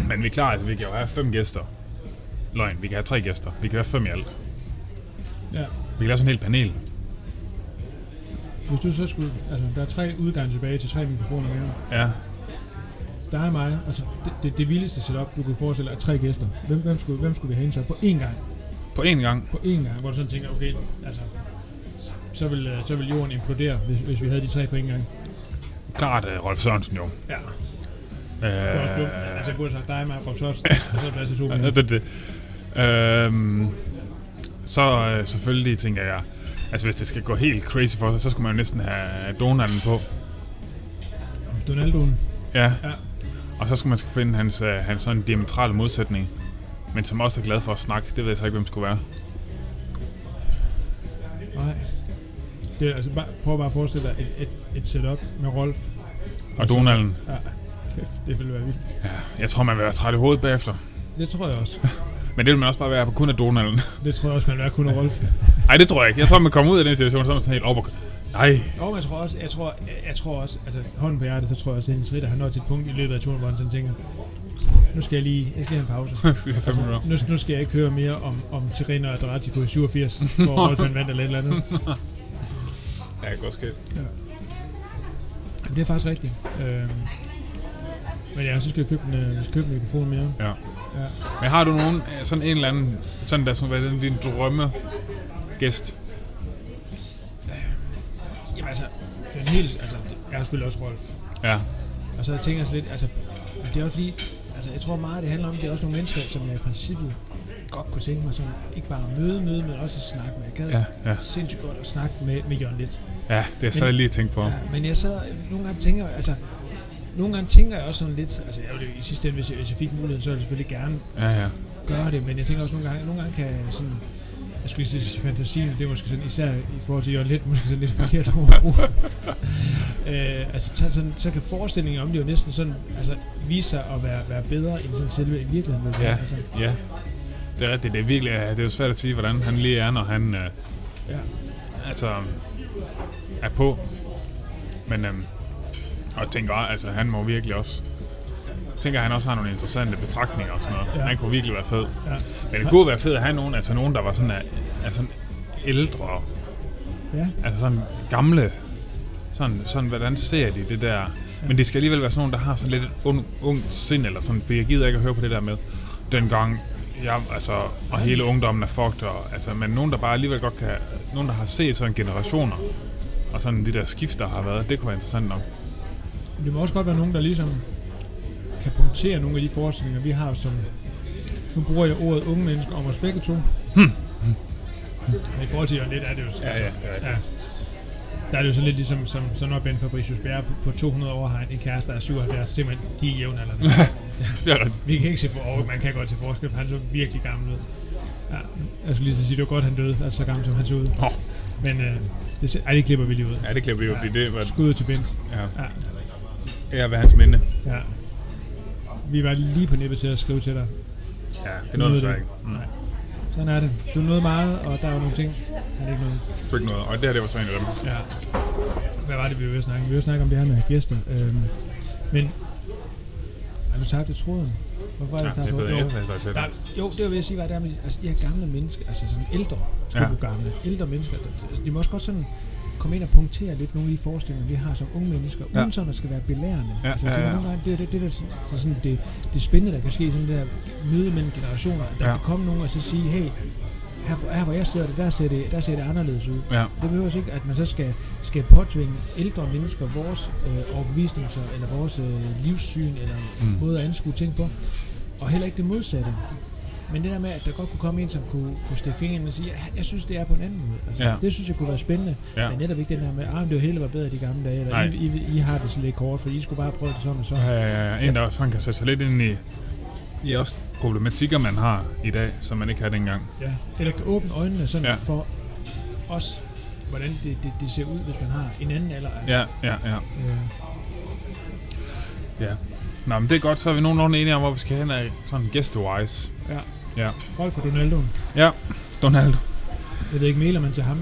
Men vi er klar, altså vi kan jo have fem gæster. Løgn, vi kan have tre gæster. Vi kan have fem i alt.
ja.
Vi kan lave sådan en hel panel.
Hvis du så skulle... Altså, der er tre udgange tilbage til tre mikrofoner mere.
Ja.
Der er mig. Altså, det, det, det vildeste setup, du kunne forestille dig, er tre gæster. Hvem, hvem, skulle, hvem skulle vi have ind så på én gang?
På én gang.
På én gang, hvor du sådan tænker, okay, altså... Så vil, øh, så vil jorden implodere, hvis, hvis vi havde de tre på én gang.
Klart uh, Rolf Sørensen jo.
Ja. Det var også dumt. Altså,
Øh,
jeg burde have sagt dig, mig og Rob Sørensen, og så Basse Sobi.
Ja, Øh, (laughs) det, det. Øhm, så øh, selvfølgelig tænker jeg, altså hvis det skal gå helt crazy for sig, så skulle man jo næsten have Donalden på.
Donaldoen.
Ja.
Ja.
Og så skulle man skal finde hans, øh, hans sådan diametrale modsætning, men som også er glad for at snakke. Det ved jeg så ikke, hvem skulle være.
Nej. Det er, altså, bare, prøv bare at forestille dig et, et, et setup med Rolf
Og Donalden.
Kæft, det ville være vildt.
Jeg tror, man vil være træt i hovedet bagefter.
Det tror jeg også.
Men det vil man også bare være på kun af Donalden. (laughs)
Det tror jeg også, man vil være kun af Rolf.
Nej, det tror jeg ikke. Jeg tror, man kommer ud af den situation, så er man sådan helt over. Nej,
Jo, men jeg tror også, jeg tror, jeg, jeg tror også, altså hånden på hjertet, så tror jeg også, at Hendes Ritter har nået til et punkt i løbet af turen, hvor han sådan tænker, nu skal jeg lige, jeg skal lige have en pause.
(laughs) det er fem minutter.
Altså, nu, nu skal jeg ikke høre mere om, om Tirena og Adratiko i 87, hvor Rolf han vandt eller et eller andet.
Ja, det kan godt ske.
Men det er faktisk rigtigt. Øhm, men ja, så skal jeg købe en, øh, jeg skal købe en mikrofon mere.
Men har du nogen, øh, sådan en eller anden, sådan der, som hvad er det, din drømme gæst?
Jamen altså, den helt, altså, jeg er selvfølgelig også Rolf.
Ja.
Og så tænker jeg så lidt, altså, men det er også fordi, altså, jeg tror meget, det handler om, det er også nogle mennesker, som jeg i princippet godt kunne tænke mig, som ikke bare at møde, møde, men også at snakke med. Jeg gad
Ja, ja.
sindssygt godt at snakke med, med Jørgen lidt.
Ja, det er så jeg lige tænkt på.
Ja, men jeg så nogle gange tænker, jeg- altså, nogle gange tænker jeg også sådan lidt, altså jeg ville jo i sidste ende, hvis jeg, hvis jeg fik muligheden, så ville jeg selvfølgelig gerne
Ja, ja.
gøre det, men jeg tænker også nogle gange, nogle gange kan jeg sådan, jeg skulle lige sige fantasien, det er måske sådan, især i forhold til Jørgen Let, måske sådan lidt forkert ord at bruge. (laughs) øh, altså, så, sådan, så kan forestillingen om det jo næsten sådan, altså, vise sig at være, være bedre end sådan selve i virkeligheden. vil være.
Ja.
Altså,
Ja. Det er rigtigt. Det er virkelig, ja, det er jo svært at sige, hvordan han lige er, når han øh,
Ja.
altså, er på. Men øhm, og jeg tænker, altså han må virkelig også jeg tænker, han også har nogle interessante betragtninger og sådan noget. Ja.
Ja.
Han kunne virkelig være fed.
ja.
Men det kunne være fedt at have nogen, altså nogen, der var sådan, altså ældre,
ja.
altså sådan gamle, sådan, sådan hvordan ser de det der? Men det skal alligevel være sådan nogen, der har sådan lidt et un, ungt sind, eller sådan, for jeg gider ikke at høre på det der med, dengang, jeg, altså, og hele ungdommen er fucked, og, altså, men nogen, der bare alligevel godt kan, nogen, der har set sådan generationer, og sådan de der skift, der har været, det kunne være interessant nok.
Men det må også godt være nogen, der ligesom kan punktere nogle af de forestillinger, vi har som... Nu bruger jeg ordet unge mennesker om os begge to. Men i forhold til Jørgen Leth er det jo...
Hmm. Ja,
altså,
ja, det er rigtigt.
ja. Der er det jo sådan lidt ligesom, som, som når Ben Fabricius Bjerre på, på 200 år har en, en kæreste, der er 77, det man, de er jævnaldrende.
(laughs) Det er rigtigt.
Vi kan ikke se for over, man kan godt se forskel, for han så virkelig gammel ud. Ja, jeg skulle lige til at sige, det var godt, han døde, altså så gammel som han så ud.
Nå.
Men øh, det, ser- ej, det klipper vi lige ud.
(laughs) Ja, det klipper vi jo, fordi det var
Skud til Bent.
ja,
Ja.
ja, hvad er hans minde.
Ja. Vi var lige på nippet til at skrive til dig.
Ja, det nåede
nåede
du så
det.
ikke. Mm.
Nej. Sådan er det. Du nåede meget, og der var nogle ting, han ikke nåede.
Så ikke noget. Og det her, det var så en af dem.
Ja. Hvad var det, vi var ved at snakke om? Vi var ved at snakke om det her med at have gæster. Øhm, men har du tabt det tråden? Hvorfor er det,
Ja,
tabt
det ved
tråden?
jeg
Jo.
ikke, hvad jeg
Nej,
sagde.
jo, det var ved at sige, hvad det er med altså, de her gamle mennesker, altså sådan ældre,
Ja.
ja. gamle, ældre mennesker, der- altså, de må også godt sådan komme ind og punktere lidt nogle af de forestillinger, vi har som unge mennesker,
Ja.
ja. uden sådan at skal være belærende.
Ja,
altså,
ja,
jeg tænker
ja.
Nogle gange, det er det, det, der, så sådan, det, det spændende, der kan ske i sådan det der møde mellem generationer.
Ja.
Der ja. kan komme nogen og så sige, hey, her, hvor- her hvor jeg sidder det, der ser det, der ser det anderledes ud.
Ja,
Det behøver altså ikke, at man så skal, skal påtvinge ældre mennesker vores øh, overbevisninger, eller vores øh, livssyn, eller
Mm.
mm. måde at anskue ting på. Og heller ikke det modsatte. Men det der med, at der godt kunne komme en, som kunne, kunne stikke fingeren ind og sige, jeg, jeg synes, det er på en anden måde. Altså,
Ja.
ja. Det synes jeg kunne være spændende.
ja.
Ja. Men netop ikke den der med, at det var hele var bedre i de gamle dage, eller
Nej.
I, I, I, har det så lidt kort, for I skulle bare prøve det sådan og sådan.
Ja, ja, ja. Øh, En, der også han kan sætte sig lidt ind i, i også problematikker, man har i dag, som man ikke havde dengang.
Ja. Eller kan åbne øjnene sådan
Ja.
ja. for os, hvordan det, det, det, ser ud, hvis man har en anden alder.
Ja, ja, ja.
Øh,
ja. Nå, men det er godt, så er vi nogenlunde enige om, hvor vi skal hen af sådan guest-wise.
Rolf og Donaldoen.
Ja, Donald.
Jeg ved ikke, mailer man til ham?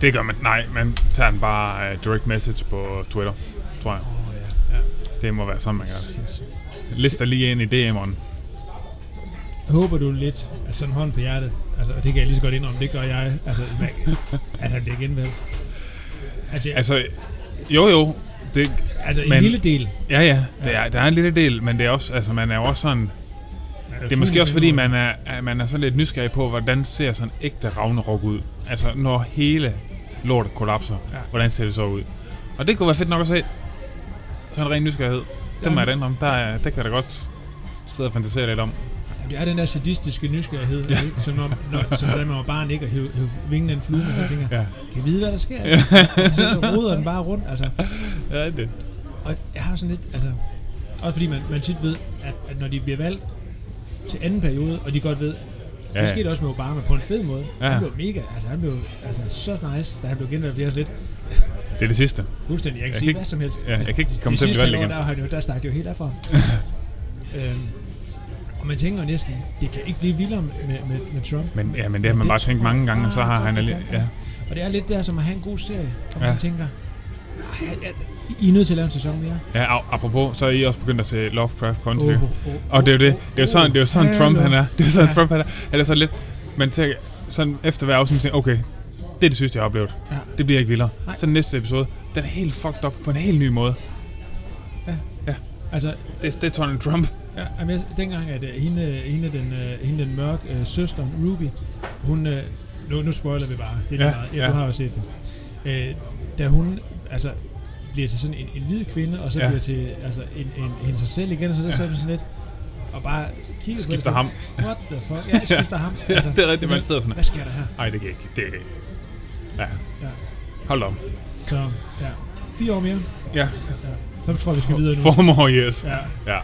Det gør man. Nej, man tager den bare uh, direct message på Twitter, tror jeg.
Åh, oh, ja. ja.
Det må være sådan, man gør det. Lister lige ind i DM'eren.
Jeg håber du lidt, altså en hånd på hjertet, altså, og det kan jeg lige så godt indrømme, det gør jeg, altså, man- at han bliver genvalgt. Altså, altså,
Altså, jo jo, det,
altså en
men-
lille del.
ja ja, det er, der er en lille del, men det er også, altså man er jo også sådan, Det er måske også fordi, man er, at man er så lidt nysgerrig på, hvordan ser sådan ægte Ragnarok ud? Altså, når hele lortet kollapser, ja.
Ja.
hvordan ser det så ud? Og det kunne være fedt nok at se. Sådan en ren nysgerrighed. Det må jeg da indrømme. Der, er- det kan jeg da godt sidde og fantasere lidt om.
Jamen, Det er den der sadistiske nysgerrighed, ja. ikke? Som når, når som da man var barn ikke at hæve, hæve vingen af en flyve, men så tænker,
Ja.
ja. kan jeg vide, hvad der sker? så roder den bare rundt, altså.
Ja, det.
Og jeg har sådan lidt, altså... Også fordi man, man tit ved, at, at når de bliver valgt til anden periode, og de godt ved,
Ja,
Ja. Det skete også med Obama på en fed måde.
Ja.
Ja. Han blev mega, altså han blev altså, så nice, da han blev genvalgt, fordi jeg er sådan lidt,
Det er det sidste.
Fuldstændig, jeg
Jeg
kan jeg sige
kan
hvad som helst.
ja, jeg kan ikke komme
de
til at blive
sidste
valgt
halve år,
igen.
Der, har han jo, der stak det jo helt
(laughs)
derfra. øhm, og man tænker jo næsten, det kan ikke blive vildere med, med, med Trump.
Men, ja, men det har man
Men
bare
det
tænkt
tror
mange
jeg
gange, og så
bare
har
godt,
han
det
alene...
kan.
Ja,
Og det er lidt der, som at have en god serie, hvor
Ja.
man tænker, "Ej, jeg, jeg, I er nødt til at lave en sæson mere.
ja og apropos, så er I også begyndt at se Lovecraft Country. Oh,
Åh, åh, åh,
og det er jo det.
åh,
Det er jo sådan, det er jo sådan
åh,
Trump han
hallo.
er. Det er sådan
Ja.
Trump han er. Han er sådan lidt... Men til, sådan efter hver afsnit tænker jeg, okay, det er det sidste, jeg har oplevet.
Ja.
Det bliver ikke vildere.
Nej.
Så den næste episode, den er helt fucked up på en helt ny måde.
Altså,
Det, det er Donald Trump. (laughs)
Ja, jamen, jeg, dengang at øh, hende, øh, hende, den, øh, hende den mørke øh, søster, Ruby, hun, øh, nu, nu spoiler vi bare, det er
Ja,
ja, meget, ja,
ja.
du har jo set det. Øh, da hun altså, bliver til sådan en, en hvid kvinde, og så
Ja.
ja. bliver til altså, en, en, hende sig selv igen, og så, ja. så er det sådan lidt, og bare kigger på
Skifter
det, sådan,
ham.
What the fuck? Ja, skifter ham.
(laughs) Ja, det er rigtigt, man
sådan,
sidder sådan.
Hvad sker der her?
Ej, det kan ikke. Det er ikke. Ja.
Ja.
Hold op.
Så, ja. Fire år mere,
Ja.
så tror jeg, vi skal videre nu.
Four more years.
Ja,
Ja. ja.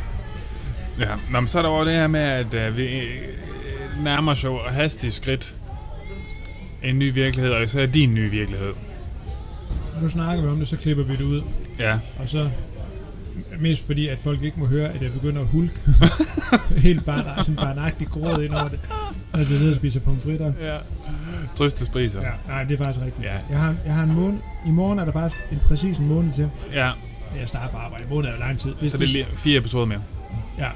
Nå, men så er der jo det her med, at øh, vi øh, nærmer os jo hastigt skridt en ny virkelighed, og især din nye virkelighed.
nu snakker vi om det, så klipper vi det ud.
Ja.
Og så mest fordi, at folk ikke må høre, at jeg begynder at
(laughs)
hulke helt barn, sådan barnagtigt gråd ind over det, når jeg sidder og spiser pomfritter.
ja. Trøstespriser. Ja.
Ja, nej, det er faktisk rigtigt.
Ja.
Jeg, har, jeg har en måned. I morgen er der faktisk en præcis en måned til.
ja.
Jeg starter på arbejde. En måned er jo lang tid.
Så det er lige fire episoder mere.
Ja.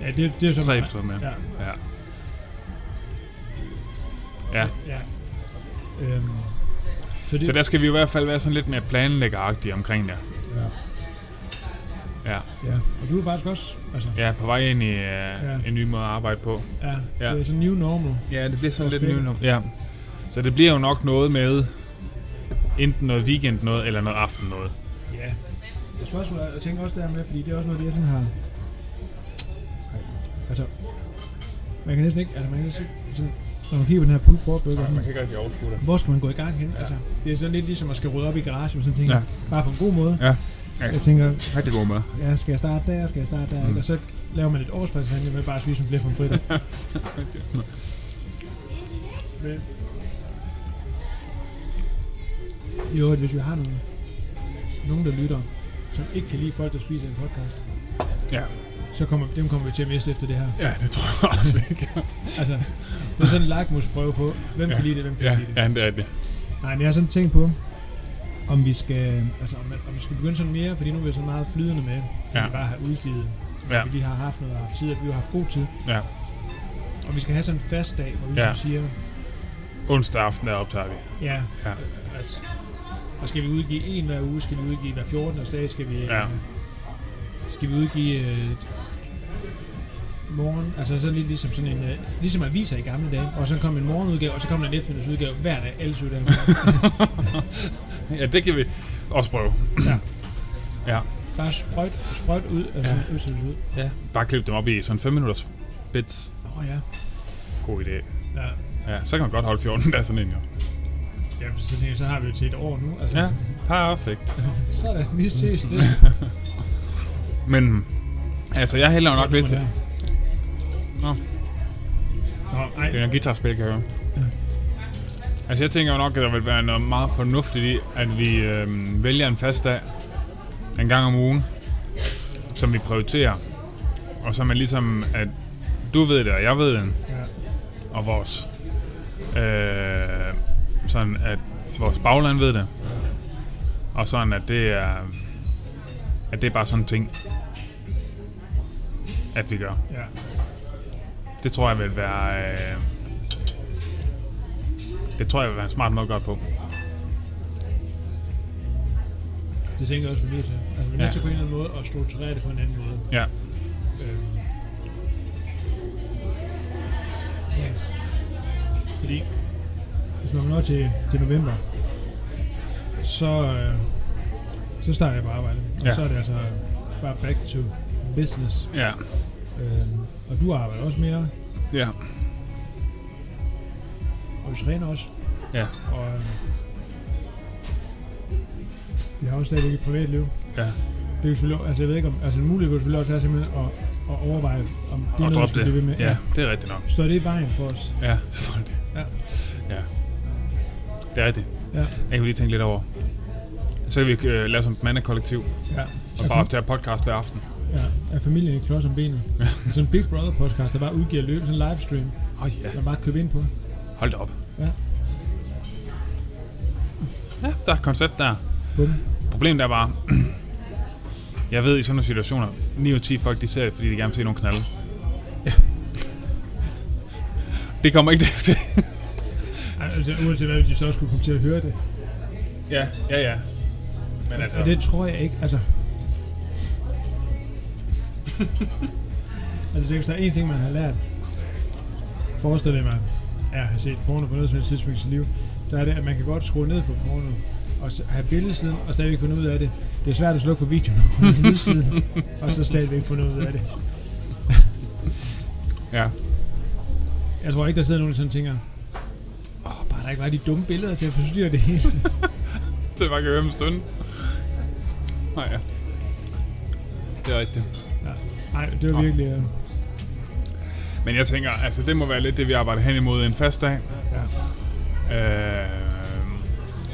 Ja, det, det er som...
Tre episoder mere.
Ja.
Ja. Ja.
ja. Øhm, så det,
Så der skal vi i hvert fald være sådan lidt mere planlæggeragtige omkring det.
Ja.
Ja.
ja. Og du er faktisk også... Altså,
Ja, på vej ind i øh,
Ja.
en ny måde at arbejde på.
ja,
Ja.
ja. Det er sådan new normal.
Ja, det bliver sådan
lidt
nyt. Ja. Så det bliver jo nok noget med enten noget weekend noget, eller noget aften noget.
Ja. Og spørgsmålet er, jeg tænker også der med, fordi det er også noget, det jeg sådan har... Ej, Altså, man kan næsten ikke, altså man kan næsten ikke sådan, når man kigger på den her pulled pork burger, sådan,
ikke rigtig overskue det.
hvor skal man gå i gang hen? Ja. Altså, det er sådan lidt ligesom at skal rydde op i garagen, men sådan tænker,
Ja.
ja. bare på en god måde.
Ja. Ja.
Jeg tænker,
Rigtig god mad.
ja, skal jeg starte der, skal jeg starte der,
Mm.
mm. og så laver man et årspræsentanje med bare at spise nogle flere pomfritter. Men- Jo, hvis vi har nogen, nogen, der lytter, som ikke kan lide folk, der spiser en podcast,
Ja.
så kommer, dem kommer vi til at miste efter det her.
Ja, det tror jeg også ikke.
Altså, det er sådan en lakmusprøve på, hvem ja. kan lide det, hvem kan
ja,
ikke lide det.
ja, det er det.
Nej, men jeg har sådan tænkt på, om vi skal, altså om, om vi skal begynde sådan mere, fordi nu er vi så meget flydende med, at
Ja.
ja. vi bare har udgivet, og
Ja.
ja. vi lige har haft noget og haft tid, at vi har haft god tid.
Ja.
Og vi skal have sådan en fast dag, hvor vi
Ja.
ja. siger,
Onsdag aften, der optager vi.
ja,
Ja.
at, og skal vi udgive en hver uge, skal vi udgive hver 14. dag, skal vi,
Ja.
øh, skal vi udgive øh, morgen, altså sådan lidt ligesom sådan en, øh, ligesom aviser i gamle dage, og så kom en morgenudgave, og så kom der en eftermiddagsudgave hver dag, alle syv dage.
(laughs) ja, det kan vi også prøve.
Bare sprøjt, sprøjt ud, altså ja. ødsels ud.
Ja. Bare klip dem op i sådan 5 minutters bits.
Åh oh, ja.
God idé.
ja.
Ja, så kan man godt holde 14 der sådan en jo.
Jamen, så tænker jeg, så har vi jo til et år nu. Altså,
Ja, perfekt.
Sådan, vi ses næste
Men altså, jeg hælder jo nok lidt til. Nå.
Nå. Nå, ej.
Det er en guitarspil, kan jeg høre. Altså, jeg tænker jo nok, at der vil være noget meget fornuftigt i, at vi øh, vælger en fast dag en gang om ugen, som vi prioriterer. Og så man ligesom, at du ved det, og jeg ved det,
Ja.
og vores, øh, sådan at vores bagland ved det. Og sådan, at det er, at det er bare sådan en ting, at vi gør.
ja.
Det tror jeg vil være... Øh, det tror jeg vil være en smart måde at gøre det på.
Det tænker jeg også, vi er nødt til. Altså, vi er
Ja.
nødt til på en eller anden måde at strukturere det på en anden måde.
Ja.
Øhm. Ja. Fordi, hvis man når til, til november, så, øh, så starter jeg på arbejde. Og
Ja.
så er det altså bare back to business.
Ja.
Øhm, og du arbejder også mere,
Ja.
og du træner også.
Ja.
Og øhm, vi har også stadigvæk et privatliv.
Ja.
Det er jo selvfølgelig, altså jeg ved ikke om, altså en mulighed kunne selvfølgelig også være simpelthen at, at overveje, om det er
Og
noget, vi
drop
skal blive ved med.
det. Ja, det er rigtigt nok.
Står det i vejen for os?
Ja, (laughs) så er det.
Ja.
Ja. Det er rigtigt.
Ja.
Jeg kan lige tænke lidt over. Så kan vi øh, lave som et mandekollektiv
Ja.
og bare optage podcast hver aften.
Ja, er familien ikke klods om benet? sådan en Big Brother podcast, der bare udgiver løbende sådan en livestream,
Åh oh, ja,
man bare kan købe ind på.
hold da op.
Ja.
Ja, der er et koncept der.
Bum.
Problemet er bare, (clears throat) jeg ved i sådan nogle situationer, 9 ud af 10 folk, de ser det, fordi de gerne vil se nogle (laughs) knalde. Det kommer ikke til.
Ej, Altså, uanset hvad, de så skulle komme til at høre det.
ja, ja, ja. Men altså,
Og det tror jeg ikke,
(laughs)
altså... altså, hvis der er en ting, man har lært, forestil dig, man ja, har set porno på noget som helst tidspunkt i sit liv, så er det, at man kan godt skrue ned for porno, og så have billedsiden, og stadigvæk finde ud af det. Det er svært at slukke for videoen og skrue ned for lydsiden, og så stadigvæk finde ud af det.
ja.
Jeg tror ikke, der sidder nogen, der sådan tænker, åh, oh, bare der ikke var de dumme billeder til at forstyrre det hele. (laughs)
Så bare kan høre dem stund. Nej, ja. Det er rigtigt.
Nej, det var
Nå.
virkelig... øh,
Men jeg tænker, altså det må være lidt det, vi arbejder hen imod en fast dag.
Ja.
Øh,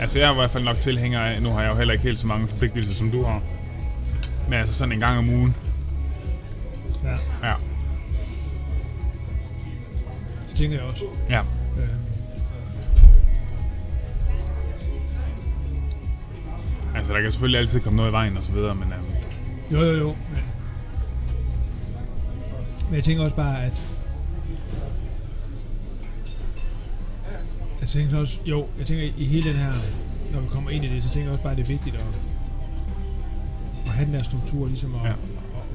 altså jeg er i hvert fald nok tilhænger af, nu har jeg jo heller ikke helt så mange forpligtelser, som du har. Men altså sådan en gang om ugen.
Ja.
Ja.
Det tænker jeg også.
Ja.
Øh,
Altså der kan selvfølgelig altid komme noget i vejen og så videre, men øh,
jo, jo, jo. Men, men jeg tænker også bare, at... Jeg tænker så også, jo, jeg tænker i hele den her, når vi kommer ind i det, så tænker jeg også bare, at det er vigtigt at, at have den der struktur, ligesom at,
Ja.
ja.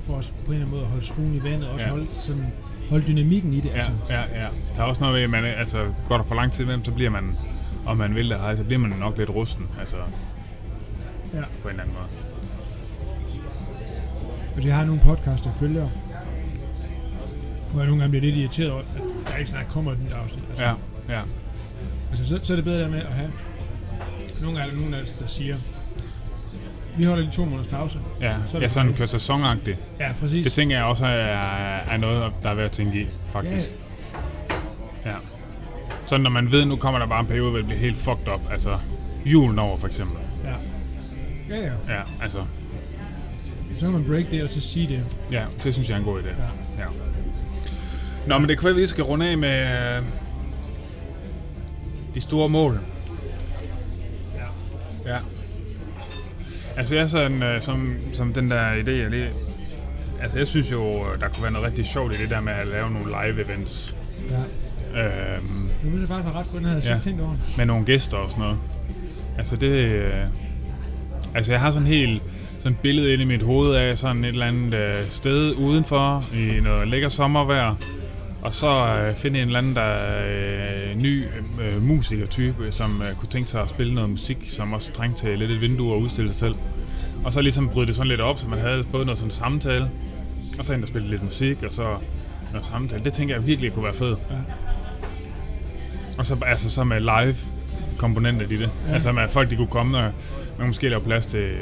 for os på en eller anden måde at holde skruen i vandet, og også
Ja.
ja. holde, sådan, holde dynamikken i det.
ja,
Altså.
ja, ja. Der er også noget ved, at man, øh, altså går der for lang tid imellem, så bliver man, om man vil det eller ej, så bliver man nok lidt rusten, altså
Ja.
på en eller anden måde.
Hvis jeg har nogle podcasts, jeg følger, hvor jeg nogle gange bliver lidt irriteret over, at der ikke snart kommer et nyt afsnit. Altså,
Ja, ja,
altså så, så er det bedre der med at have nogle gange er der nogen af os, der siger, vi holder lige to måneders pause.
ja.
Så er det
ja sådan
okay.
kører sæsonagtigt.
Ja, præcis.
Det tænker jeg også er, er noget, der er værd at tænke i,
ja,
faktisk. Ja. ja. Sådan når man ved, at nu kommer der bare en periode, hvor det bliver helt fucked up. Altså julen over, for eksempel.
ja. Ja, ja.
Ja, altså.
Så kan man break det, og så sige det.
Ja, det synes jeg er en god idé. Ja. ja. Nå, men det kan være, at vi skal runde af med øh, de store mål.
Ja.
Ja. Altså jeg er sådan, øh, som, som den der idé, jeg lige... Altså jeg synes jo, øh, der kunne være noget rigtig sjovt i det der med at lave nogle live events.
ja.
Øhm,
Nu synes jeg faktisk, at ret på den her, jeg
Ja.
ja. tænkt over.
med nogle gæster og sådan noget. Altså det... Øh, altså jeg har sådan helt sådan et billede inde i mit hoved af sådan et eller andet øh, sted udenfor i noget lækker sommervejr. Og så øh, finde en eller anden, der er øh, ny øh, musikertype, som øh, kunne tænke sig at spille noget musik, som også trængte til lidt et vindue og udstille sig selv. Og så ligesom bryde det sådan lidt op, så man havde både noget sådan samtale, og så en, der spillede lidt musik, og så noget samtale. Det tænker jeg virkelig kunne være fedt.
Ja.
Og så, altså, så med live komponenter i det. Ja. Altså med at folk, de kunne komme og man måske lave plads til øh,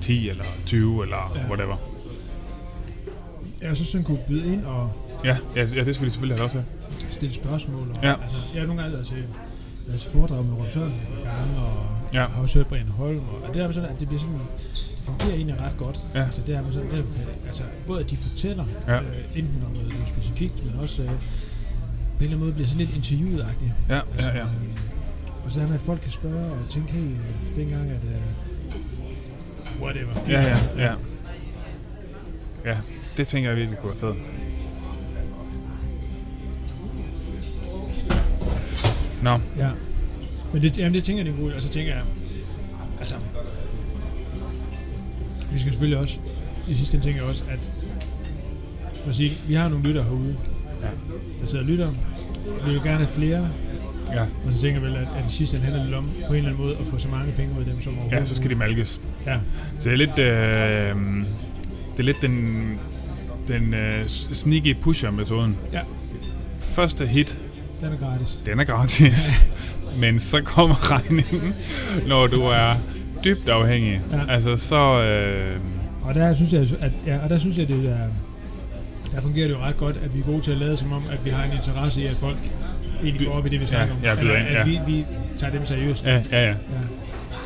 10 eller 20 eller ja.
Ja.
whatever.
Ja, så synes jeg, kunne byde ind og
Ja, ja, ja, det skulle de selvfølgelig have lov til.
stille spørgsmål. Og,
Ja.
altså, jeg har nogle gange været til deres foredrag med Rob Sørensen et par gange, og
Ja.
jeg har også hørt Brian Holm, og, og det der med sådan, at det bliver sådan, det fungerer egentlig ret godt.
Ja.
Altså, det her med sådan, netop, kan- altså, både at de fortæller,
Ja.
øh, enten om noget, noget specifikt, men også øh, på en eller anden måde bliver sådan lidt interviewet-agtigt.
Ja,
Altså,
ja, ja.
Øh, og så er med, at folk kan spørge og tænke, hey, øh, dengang, at... Øh, whatever.
Ja, ja, ja. Ja, det tænker jeg virkelig kunne være fedt. Nå,
Ja. Men det, jamen, det tænker jeg, det er godt, og så tænker jeg, altså, vi skal selvfølgelig også, i sidste ende tænker jeg også, at, for at sige, vi har nogle lytter herude,
Ja.
der sidder og lytter, vi vil gerne have flere,
ja,
og så tænker jeg vel, at, at i sidste ende handler det om, på en eller anden måde, at få så mange penge ud af dem som overhovedet.
ja, så skal de malkes.
muligt. Ja,
Så det er lidt, øh, det er lidt den, den øh, sneaky pusher-metoden.
Ja.
Første hit,
den er gratis.
den er
(laughs)
gratis. Men så kommer regningen, når du er dybt afhængig. Ja.
Ja.
Altså, så... Øh,
Og der synes jeg, at, ja, og der synes jeg, det er, der fungerer det jo ret godt, at vi er gode til at lade som om, at vi har en interesse i, at folk egentlig går op i det, vi snakker om.
ja, byder
Eller
ind,
at
ja.
vi, vi tager dem seriøst.
ja, ja, ja.
Ja.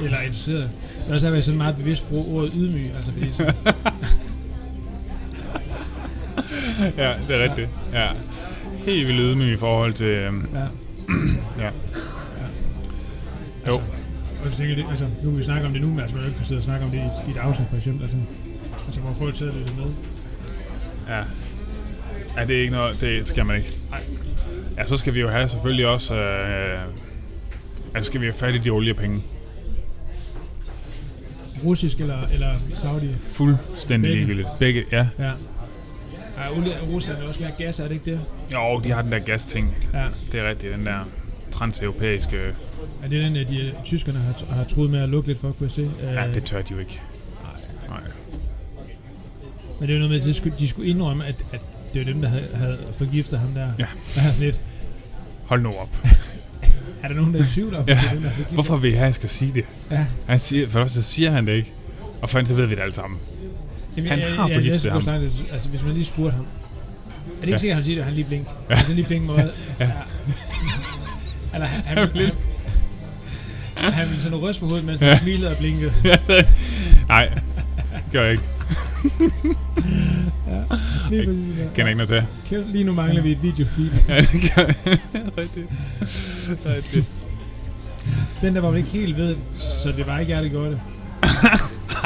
eller interesseret. Men også har jeg sådan meget bevidst bruge ordet ydmyg,
(laughs)
altså fordi sådan,
Ja, det er rigtigt. Ja. Helt vildt ydmyg i forhold til... øhm,
ja.
Ja. Jo.
Altså, Og så tænker jeg, det, altså, nu kan vi snakke om det nu, men altså, man kan jo ikke kan sidde og snakke om det i et, i et afsnit, for eksempel. Altså, altså hvor folk sidder og lytter med.
Ja. Ja, det er ikke noget, det skal man ikke.
Nej.
Ja, så skal vi jo have selvfølgelig også, øh, altså skal vi have fat i de oliepenge.
Russisk eller, eller Saudi.
Fuldstændig
Begge.
ligegyldigt. Begge, ja.
Ja. Ej, olie, Rusland er også mere gas, er det ikke det?
Jo, de har den der gasting.
Ja.
Det er rigtigt, den der transeuropæiske.
Er det den, at de, øh, tyskerne har, har troet med at lukke lidt for, kunne jeg se?
Ja,
Øh,
det tør de jo ikke. Nej.
Men det er jo noget med, at de skulle, de skulle indrømme, at, at det var dem, der havde, havde forgiftet ham der.
Ja.
Jeg har sådan lidt,
Hold nu op.
er der nogen, der er i tvivl om,
Ja.
ja. det er dem, der har forgiftet
(laughs) Hvorfor vil I have, at jeg skal sige det?
Ja.
Han siger, for også så siger han det ikke. Og for andet, så ved vi det alle sammen. (laughs)
Jamen,
Han har
jeg,
forgiftet
jeg, jeg,
ham.
jeg snakke, lidt, altså, hvis man lige spurgte ham. Er det ikke
Ja.
ja. sikkert, at han siger det, han lige blink? Ja. Han lige blink
(laughs)
måde. Ja. (laughs) Eller han, han,
vil
han, han, han ville sådan ryste på hovedet, mens han smilede og
(laughs)
blinkede.
Nej, det gør jeg ikke.
Lige, præcis, ja.
Kender ikke noget til. (laughs)
Kæft, lige nu mangler vi et videofeed.
Ja, det gør jeg. (laughs) Rigtigt. Rigtigt.
Den der, hvor man ikke helt ved, så det var ikke jer,
(laughs)
der gjorde det.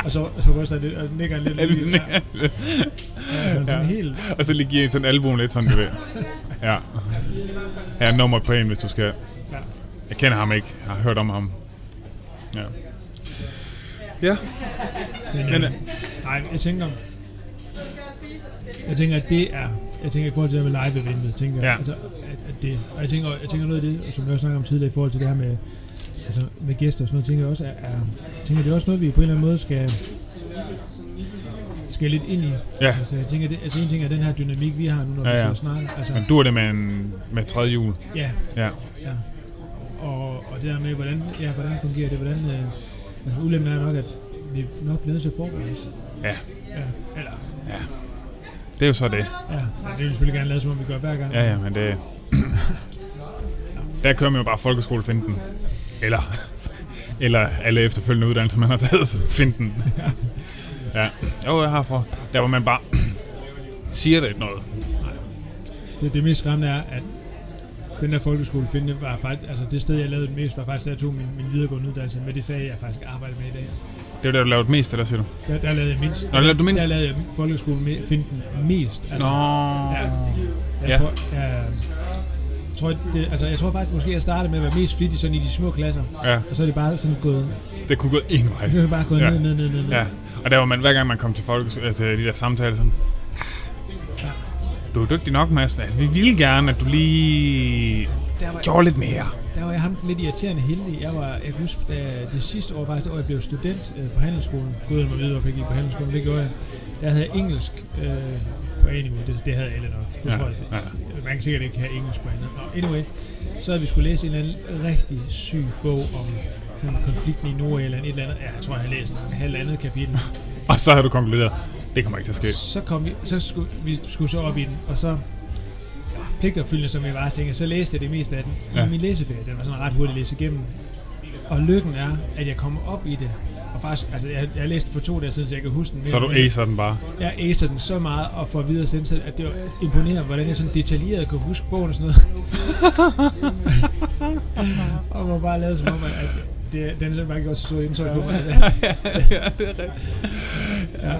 og så, så ryster han lidt, og nikker han lidt.
Ja,
lige,
det-
ja. Ja, men sådan
Ja.
helt, øh,
(laughs) Og så lige giver en sådan album lidt, sådan du ved. Ja. Ja, nummer på en, hvis du skal.
Ja.
Jeg kender ham ikke. Jeg har hørt om ham. Ja. Ja.
Men,
Men,
øh, nej, jeg tænker... Jeg tænker, at det er... Jeg tænker i forhold til det her med live-eventet, tænker jeg,
Ja.
altså, at, at det... Og jeg tænker, jeg tænker noget af det, som jeg også snakkede om tidligere i forhold til det her med, altså, med gæster og sådan noget, tænker jeg også er, er... Tænker det er også noget, vi på en eller anden måde skal skal lidt ind i.
Ja.
Altså, jeg tænker, det, altså en ting er den her dynamik, vi har nu,
Ja,
når ja,
ja.
vi sidder og snakker. Altså,
Men du er det med, en, med tredje jul.
ja,
Ja.
Ja. Og, og det der med, hvordan, ja, hvordan fungerer det? Hvordan, øh, altså, ulempen er nok, at vi nok bliver nødt til at forberede os.
Ja.
ja. Eller,
Det er jo så det.
ja, men det vil vi selvfølgelig gerne lade, som om vi gør hver gang.
Ja, ja, men det... (clears throat) Der kører man jo bare folkeskolefinden. Eller... (laughs) Eller alle efterfølgende uddannelser, man har taget, så finden. Ja. Jo, jeg har for. Der var man bare... (clears throat) Siger det ikke noget.
Det, det mest skræmmende er, at den der folkeskole finde var faktisk, altså det sted, jeg lavede det mest, var faktisk, da jeg tog min, min videregående uddannelse med det fag, jeg faktisk arbejder med i dag.
Det var det, du lavede mest, eller siger du?
Der, der lavede jeg mindst.
Nå, der lavede du mindst?
Der lavede jeg folkeskolen me- finden mest. Altså,
Nå.
Ja. Jeg,
Ja.
ja. tror, jeg, jeg tror, det, altså, jeg tror faktisk måske, jeg startede med at være mest flittig sådan i de små klasser.
Ja,
Og så er det bare sådan gået,
det kunne gå en vej.
så er det bare gået
Ja.
ja. ned, ned, ned, ned, ned.
Ja, og der var man, hver gang man kom til, folk, øh, til de der samtaler, sådan, du er dygtig nok, Mads. Altså, vi ville gerne, at du lige
Der, var,
gjorde lidt mere.
der var jeg ham den lidt irriterende heldig. Jeg var, jeg kan huske, da det sidste år faktisk, år jeg blev student øh, på handelsskolen. Gud, jeg vide, hvorfor jeg gik på handelsskolen, det gjorde jeg. Der havde jeg engelsk øh, på A-niveau, det, det havde alle nok. Det
Ja,
ja. tror jeg.
ja.
Man kan sikkert ikke have engelsk på andet. Nå, anyway, så havde vi skulle læse en eller anden rigtig syg bog om sådan konflikten i Nordirland, et eller andet. Ja, jeg tror, jeg har læst halvandet kapitel.
Og så har du konkluderet, det kommer ikke til at ske.
Så kom vi, så skulle, vi skulle så op i den, og så pligtopfyldende som jeg var, tænkte, jeg, så læste jeg det meste af den
Ja.
ja. i min læseferie. Den var sådan ret hurtigt at læse igennem. Og lykken er, at jeg kommer op i det. Og faktisk, altså jeg, jeg læste for to dage siden, så jeg kan huske den. mere
Så du
og mere.
acer den
(laughs)
bare.
Jeg acer den så meget og får videre sensor, at det var imponerende, hvordan jeg sådan detaljeret kunne huske bogen og sådan (laughs) noget. og var bare lavet som om, at det, den er bare ikke også så indtryk på mig. ja.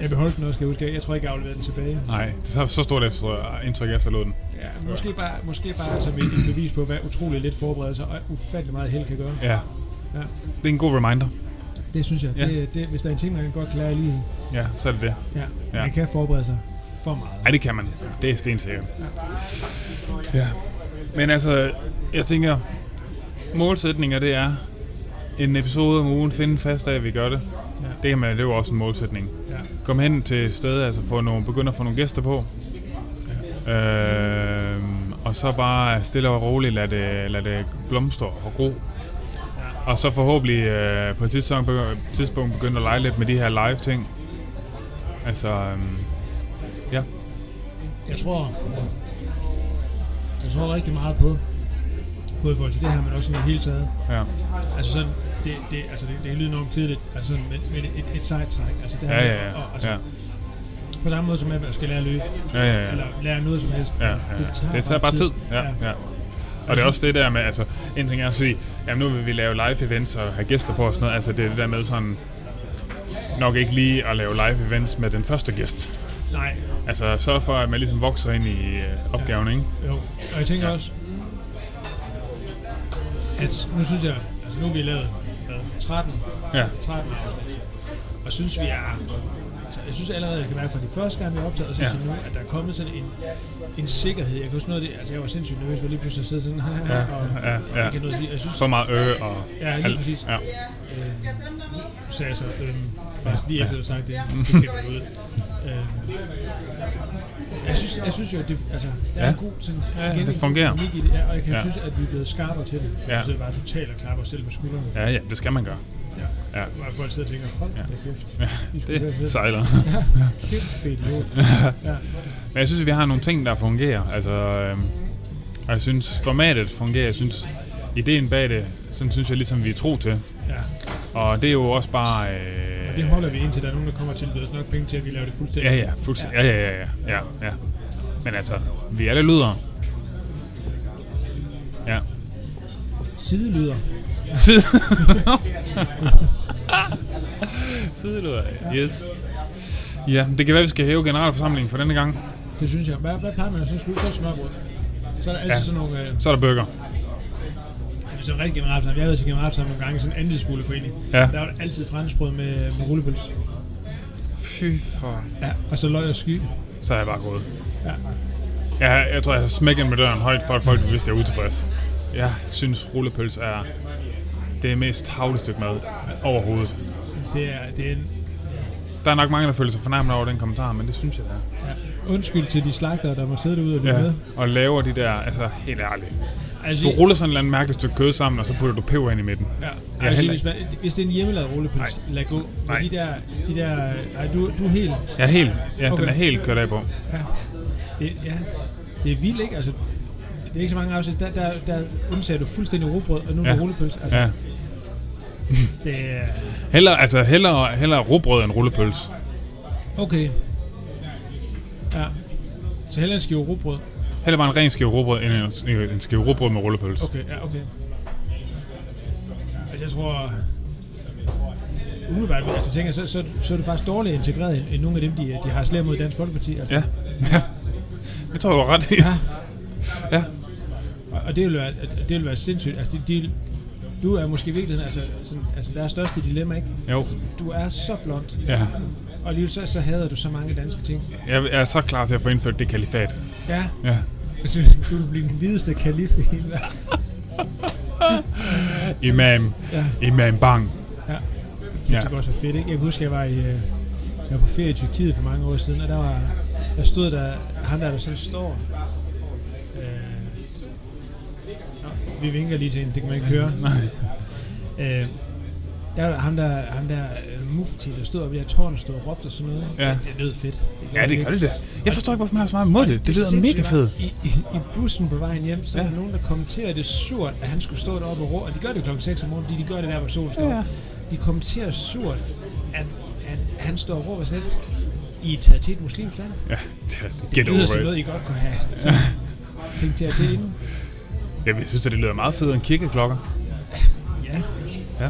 Jeg beholdt den også, skal jeg huske. Jeg tror ikke, jeg afleverede den tilbage.
Nej, det er så, så stort efter, indtryk efterlod den.
Ja, måske bare, måske bare som et, et bevis på, hvad utrolig lidt forberedelse og ufattelig meget held kan gøre.
Ja.
Ja.
Det er en god reminder.
Det synes jeg.
Ja.
Ja. Det, det, hvis der er en ting, man kan godt klare lige,
Ja, så er det det.
ja,
Ja.
ja. man kan forberede sig for meget.
Ej, det kan man. Det er stensikkert. Ja. Men altså, jeg tænker, målsætninger det er en episode om ugen, finde en fast af, at vi gør det.
Ja.
Det, kan man, det er jo også en målsætning.
Ja.
Kom hen til stedet, altså få nogle, begynde at få nogle gæster på. Øh, og så bare stille og roligt lade det, lade det blomstre og gro. Og så forhåbentlig øh, på et tidspunkt, begy- tidspunkt begynde at lege lidt med de her live ting. Altså, øhm, ja.
Jeg tror, jeg tror rigtig meget på, både i forhold til det her, men også sådan i det hele taget.
Ja.
Altså sådan, det, det, altså, det, det kan lyde enormt kedeligt, altså, men, men et, et sejt træk. Altså, det her
Ja,
med
ja,
at-
ja.
at- altså,
ja.
På samme måde som at man skal lære at løbe,
Ja, ja, ja.
eller lære noget som helst.
Ja, ja, ja. Det tager bare tid. Ja, ja. Og det er også det der med, altså, en ting er at sige, jamen nu vil vi lave live events og have gæster på og sådan noget, altså det er det der med sådan, nok ikke lige at lave live events med den første gæst.
Nej,
Altså sørg for, at man ligesom vokser ind i øh, opgaven, ikke?
Jo, og jeg tænker ja. også, at nu synes jeg, altså nu har vi lavet hvad, 13,
Ja.
13 afsnit, og synes vi er, altså jeg synes allerede, jeg kan mærke fra de første gang, vi opdagede, og synes
Ja.
ja. nu, at der er kommet sådan en, en sikkerhed. Jeg kan huske noget af det, altså jeg var sindssygt nervøs, for lige pludselig at sidde sådan her,
Ja,
og
ja, ja.
jeg kan noget at sige, jeg synes,
Så meget øh og
ja, lige præcis.
Ja.
Øhm, så jeg så, øhm, faktisk lige efter, du sagde
(laughs)
det, det klipper jeg ud. Øhm, jeg synes, jeg synes jo, at det, altså, der ja.
Ja.
er en god sådan,
Ja,
igen,
det
en
fungerer.
god dynamik i det, ja, og jeg kan
Ja.
ja. synes, at vi er blevet skarpere til det. For
Ja.
ja. vi sidder bare totalt og klapper os selv på skuldrene.
ja, ja, det skal man gøre.
Ja.
Ja.
Hvor folk sidder og tænker, hold da kæft.
Ja,
I skulle være
Det
fedt.
sejler.
Kæmpe
(laughs)
idiot. Ja.
Men jeg synes, at vi har nogle ting, der fungerer. Altså, øh, og jeg synes, formatet fungerer. Jeg synes, ideen bag det, sådan synes jeg ligesom, vi er tro til.
ja.
Og det er jo også bare... Øh,
Og det holder vi indtil der er nogen, der kommer til at os nok penge til, at vi laver det fuldstændig.
Ja, ja, fuldstændig. Ja, ja, ja, ja, ja, ja. Men altså, vi alle lyder. Ja. (laughs)
Sidelyder.
Side. (laughs) Sidelyder, yes. Ja, det kan være, vi skal hæve generalforsamlingen for denne gang.
Det synes jeg. Hvad, hvad plejer man at så slutte? Så er det smørbrød. Så er der altid
Ja.
ja. sådan nogle... Øh,
Så er der burger.
Hvis det er en rigtig generalforsamling, jeg har været til generalforsamling nogle gange i sådan en andelsboligforening,
Ja.
der var der altid franskbrød med, med rullepøls.
Fy for...
Ja. Og så løg og sky.
Så er jeg bare gået.
Ja.
Jeg, jeg tror, jeg har smækket med døren højt, for at folk vidste, at jeg er utilfreds. Jeg synes, rullepøls er det mest tavlige stykke mad overhovedet.
Det er, det er en,
Der er nok mange, der føler sig fornærmet over den kommentar, men det synes jeg, det er.
ja. undskyld til de slagter, der må sidde derude og lytte ja.
Ja,
med.
og laver de der, altså helt ærligt.
Altså,
Du ruller sådan et eller andet mærkeligt stykke kød sammen, og så putter du peber ind i midten.
ja.
Ja,
altså,
heller
hvis, man, hvis det er en hjemmelavet rullepøls, lad gå. Men
Nej.
De der, de der, øh, nej, du, du er helt,
Ja, helt. Ja, okay.
Okay.
den er helt kørt af på.
ja. Det, ja. det er vildt, ikke? Altså, det er ikke så mange afsnit. Der, der, der undsager du fuldstændig rugbrød, og nu er
Ja.
det rullepøls. Altså,
Ja.
det er...
Heller, altså, hellere, hellere råbrød end rullepøls.
Okay. Ja. Så hellere en skive rugbrød.
Heller bare en ren skive råbrød end en, en skive råbrød med rullepøls. Okay.
Okay, ja, okay. Altså, jeg tror... Umiddelbart, altså, tænker, jeg, så, så, så er det faktisk dårligt integreret end, end nogle af dem, de, de har slæbt mod Dansk Folkeparti. Altså.
Ja. ja. (laughs) Det tror jeg var ret i.
Ja.
Ja.
Og, og det, vil være, at- det vil være sindssygt. Altså, de, de, du er måske i virkeligheden, altså, sådan, altså deres største dilemma, ikke?
Jo.
Du er så blond,
Ja.
og alligevel så, så hader du så mange danske ting.
Jeg, jeg er så klar til at få indført det kalifat.
Ja,
Ja.
du vil blive den hvideste kalif i hele verden.
Imam.
Ja.
Imam Bang.
Det
Ja.
ja. også var fedt, ikke? Jeg kan huske, jeg var, i, øh, jeg var på ferie i Tyrkiet for mange år siden, og der var, der stod der, han der, der sådan står, øh, nå, vi vinker lige til en, det kan man ikke høre. øh, der var ham der, ham der øh, mufti, der stod oppe i det her tårn, og stod og råbte og sådan noget. ikke?
Ja.
Det, det lød fedt.
Ja, det gør det da. Jeg forstår ikke, hvorfor man har så meget imod det. Det lyder mega
sindssygt,
fedt.
hva'? I, i, I bussen på vejen hjem, så er der
Ja.
nogen, der kommenterer det surt, at han skulle stå deroppe og rå. Og de gør det klokken 6 om morgenen, fordi de gør det der, hvor solen står.
Ja.
De kommenterer surt, at, at han står og råber sådan lidt. I er taget til et muslimsk land.
Ja, det get
Det lyder
over
som
it.
noget, I godt kunne have
(laughs)
tænkt jer til inden.
Ja, Jeg synes, at det lyder meget federe end kirkeklokker.
Ja.
Ja.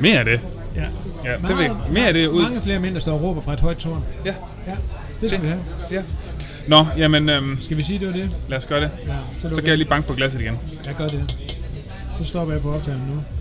Mere af det.
ja.
Ja, det vil, mere af det ud.
Mange flere mænd, der står og råber fra et højt tårn.
Ja.
Ja, det skal vi have.
Nå, jamen, øhm,
Skal vi sige, det var det?
lad os gøre det.
Ja,
Så
lukker
kan jeg lige banke på glasset igen.
Jeg gør det. Så stopper jeg på optagelsen nu.